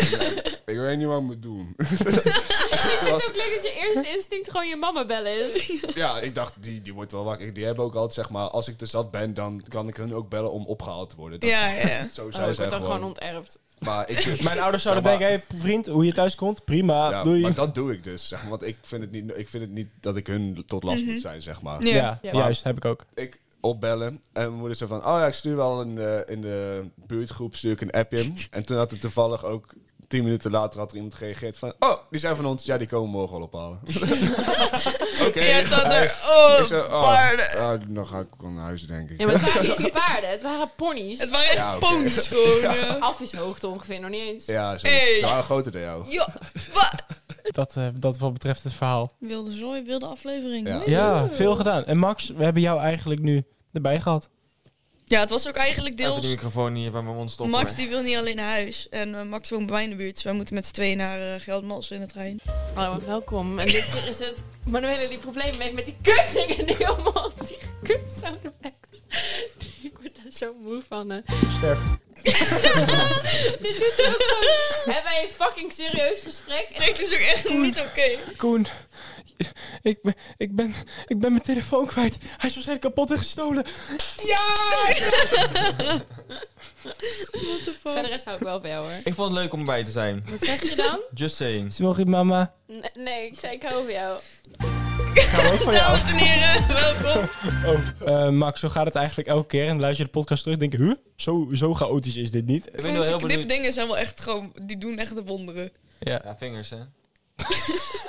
ik weet niet wat ik moet doen.
Ik vind het ook leuk dat je eerste instinct gewoon je mama bellen is.
Ja, ik dacht, die, die wordt wel wakker. Die hebben ook altijd, zeg maar, als ik te zat ben, dan kan ik hun ook bellen om opgehaald te worden. Dat-
Ja, ja.
Zo
Oh,
zijn zij
ik word dan
gewoon.
gewoon onterfd.
maar ik,
Mijn ouders zouden
Zeg maar-
denken, hey, vriend, hoe je thuis komt, prima,
ja,
doei.
maar dat doe ik dus, zeg maar, want ik vind, het niet, ik vind het niet dat ik hun tot last
Mhm.
moet zijn, zeg maar.
Ja.
Ja,
Ja.
juist, heb ik ook.
Ik opbellen en mijn moeder zei van, oh ja, ik stuur wel een, eh, in de buurtgroep stuur ik een appje. en toen had er toevallig ook tien minuten later had er iemand gereageerd van, oh, die zijn van ons, ja, die komen morgen wel ophalen.
Oh,
Oké.
Jij staat er,
Ik
oh,
zei, oh,
paarden.
ah, dan ga ik wel naar huis, denk ik.
Ja, maar het waren niet eens paarden, het waren ponies.
Het waren echt
Ja, oké.
ponies gewoon. Ja.
Af is hoogte ongeveer, nog niet eens.
Ja, ze
Hey.
ze waren groter dan jou.
Ja, wat?
Dat, eh, dat wat betreft het verhaal.
Wilde zooi, wilde aflevering.
Ja.
hoor.
Ja, veel gedaan. En Max, we hebben jou eigenlijk nu erbij gehad.
Ja, het was ook eigenlijk
Even de
deels...
microfoon hier bij mijn mond stoppen.
Max die wil niet alleen naar huis. En eh, Max woont bij mij in de buurt. Dus wij moeten met z'n tweeën naar eh, Geldmals in de trein.
Hallo en Oh, welkom. En dit keer is het Manuela die problemen heeft met die kutdingen nu allemaal. Die kut sound effects. Ik word daar zo moe van. hè.
Sterf.
Dit doet ook gewoon... Hebben wij een fucking serieus gesprek? En
Het is ook echt niet oké.
Koen, ik ben, ik, ben, ik ben mijn telefoon kwijt. Hij is waarschijnlijk kapot en gestolen.
Verder rest hou ik wel van jou hoor.
Ik vond het leuk om bij te zijn.
Wat zeg je dan?
Just saying.
Is het wel goed, mama?
N- nee, ik zei ik hou van jou.
Gaan we ook van jou.
Dames en heren, welkom.
Eh, Max, zo gaat het eigenlijk elke keer. En luister je de podcast terug en denk je, huh? Zo, zo chaotisch is dit niet.
Ik ben wel
Onze
heel benieuwd.
knipdingen zijn wel echt gewoon... Die doen echt de wonderen.
Ja.
Ja, vingers hè.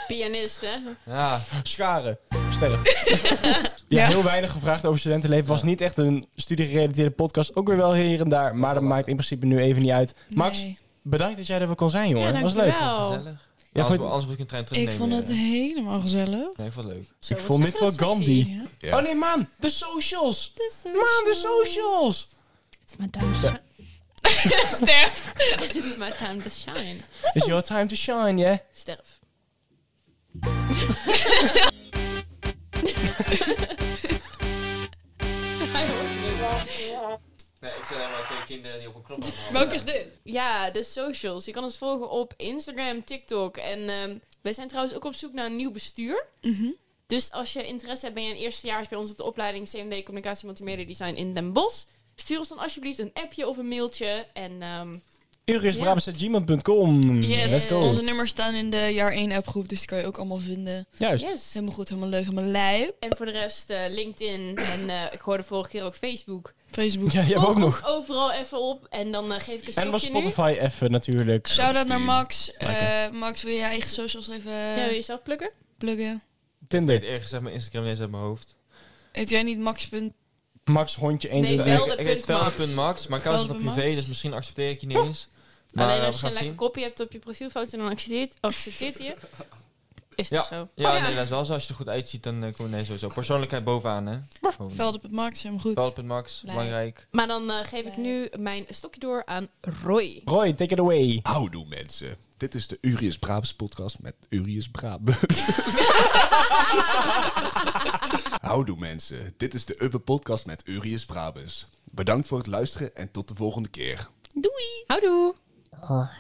Pianist hè?
Ja,
Scharen. Sterf. ja,
Ja.
heel weinig gevraagd over studentenleven. Was niet echt een studiegerelateerde podcast. Ook weer wel hier en daar. Maar dat maakt in principe nu even niet uit. Max,
Nee.
bedankt dat jij er wel kon zijn, jongen.
ja,
was leuk.
dankjewel.
gezellig.
Ja,
anders,
vond-
anders moet ik een trein
Ik
terugnemen.
vond het
weer.
helemaal gezellig.
Nee, ik vond het leuk.
Zo,
Ik
wat
vond
zeg
dit
je
wel
dat sexy?
Gandhi.
Ja.
Ja.
Oh nee, man. De socials.
Man,
Aan de socials.
It's my time to shine.
Sterf.
It's my time to shine.
It's your time to shine, yeah?
Sterf. Hij hoort niks.
Nee, ik zei alleen maar twee kinderen die op een knop
Welke is dit? Ja, de socials. Je kan ons volgen op Instagram, TikTok. En ehm wij zijn trouwens ook op zoek naar een nieuw bestuur.
Mhm.
Dus als je interesse hebt, ben je een eerstejaars bij ons op de opleiding CMD Communicatie Multimedia Design in Den Bosch. Stuur ons dan alsjeblieft een appje of een mailtje. En ehm,
Urisbrabus.gmail.com.
Yes.
Let's go.
Onze nummers staan in de jaar 1 appgroep. Dus die kan je ook allemaal vinden.
Juist.
yes.
Helemaal goed, helemaal leuk, helemaal lijp.
En voor de rest eh, LinkedIn. En eh, ik hoorde vorige keer ook Facebook.
Facebook.
Ja, jij hebt
Volg
ook
ons
nog.
overal even op. En dan eh, geef ik een
En was
stukje nu.
Spotify even natuurlijk.
Shout-out naar Max. Eh,
Lekker.
Max, wil je je eigen socials even
Ja, Eh, wil je zelf plukken?
pluggen?
Ik
Tinder.
weet ergens zeg mijn Instagram ineens uit mijn hoofd.
Heet jij niet Max. punt-
Max Hondje 1, 2,
Nee,
Ik-
3.
Velde
Ik
punt
weet wel
Max.
punt Max, maar ik hou het op
Velde punt
privé,
Max.
dus misschien accepteer ik je niet eens. Maar
Alleen
eh,
als
we
je
gaan
een
het
lekker
zien.
kopje hebt op je profielfoto, dan accepteert, accepteert hij je. Is
Ja.
toch zo?
Ja,
Oh, ja.
nee, dat is wel zo. Als je er goed uitziet, dan eh, komen we ineens sowieso. Persoonlijkheid bovenaan, hè. Gewoon.
Velde punt Max, helemaal goed.
Velde punt Max,
Blij.
belangrijk.
Maar dan eh, geef ik nu mijn stokje door aan Roy.
Roy, take it away.
Houdoe mensen. Dit is de Urius Brabus podcast met Urius Brabus. Houdoe mensen. Dit is de Uppe podcast met Urius Brabus. Bedankt voor het luisteren en tot de volgende keer.
Houdoe!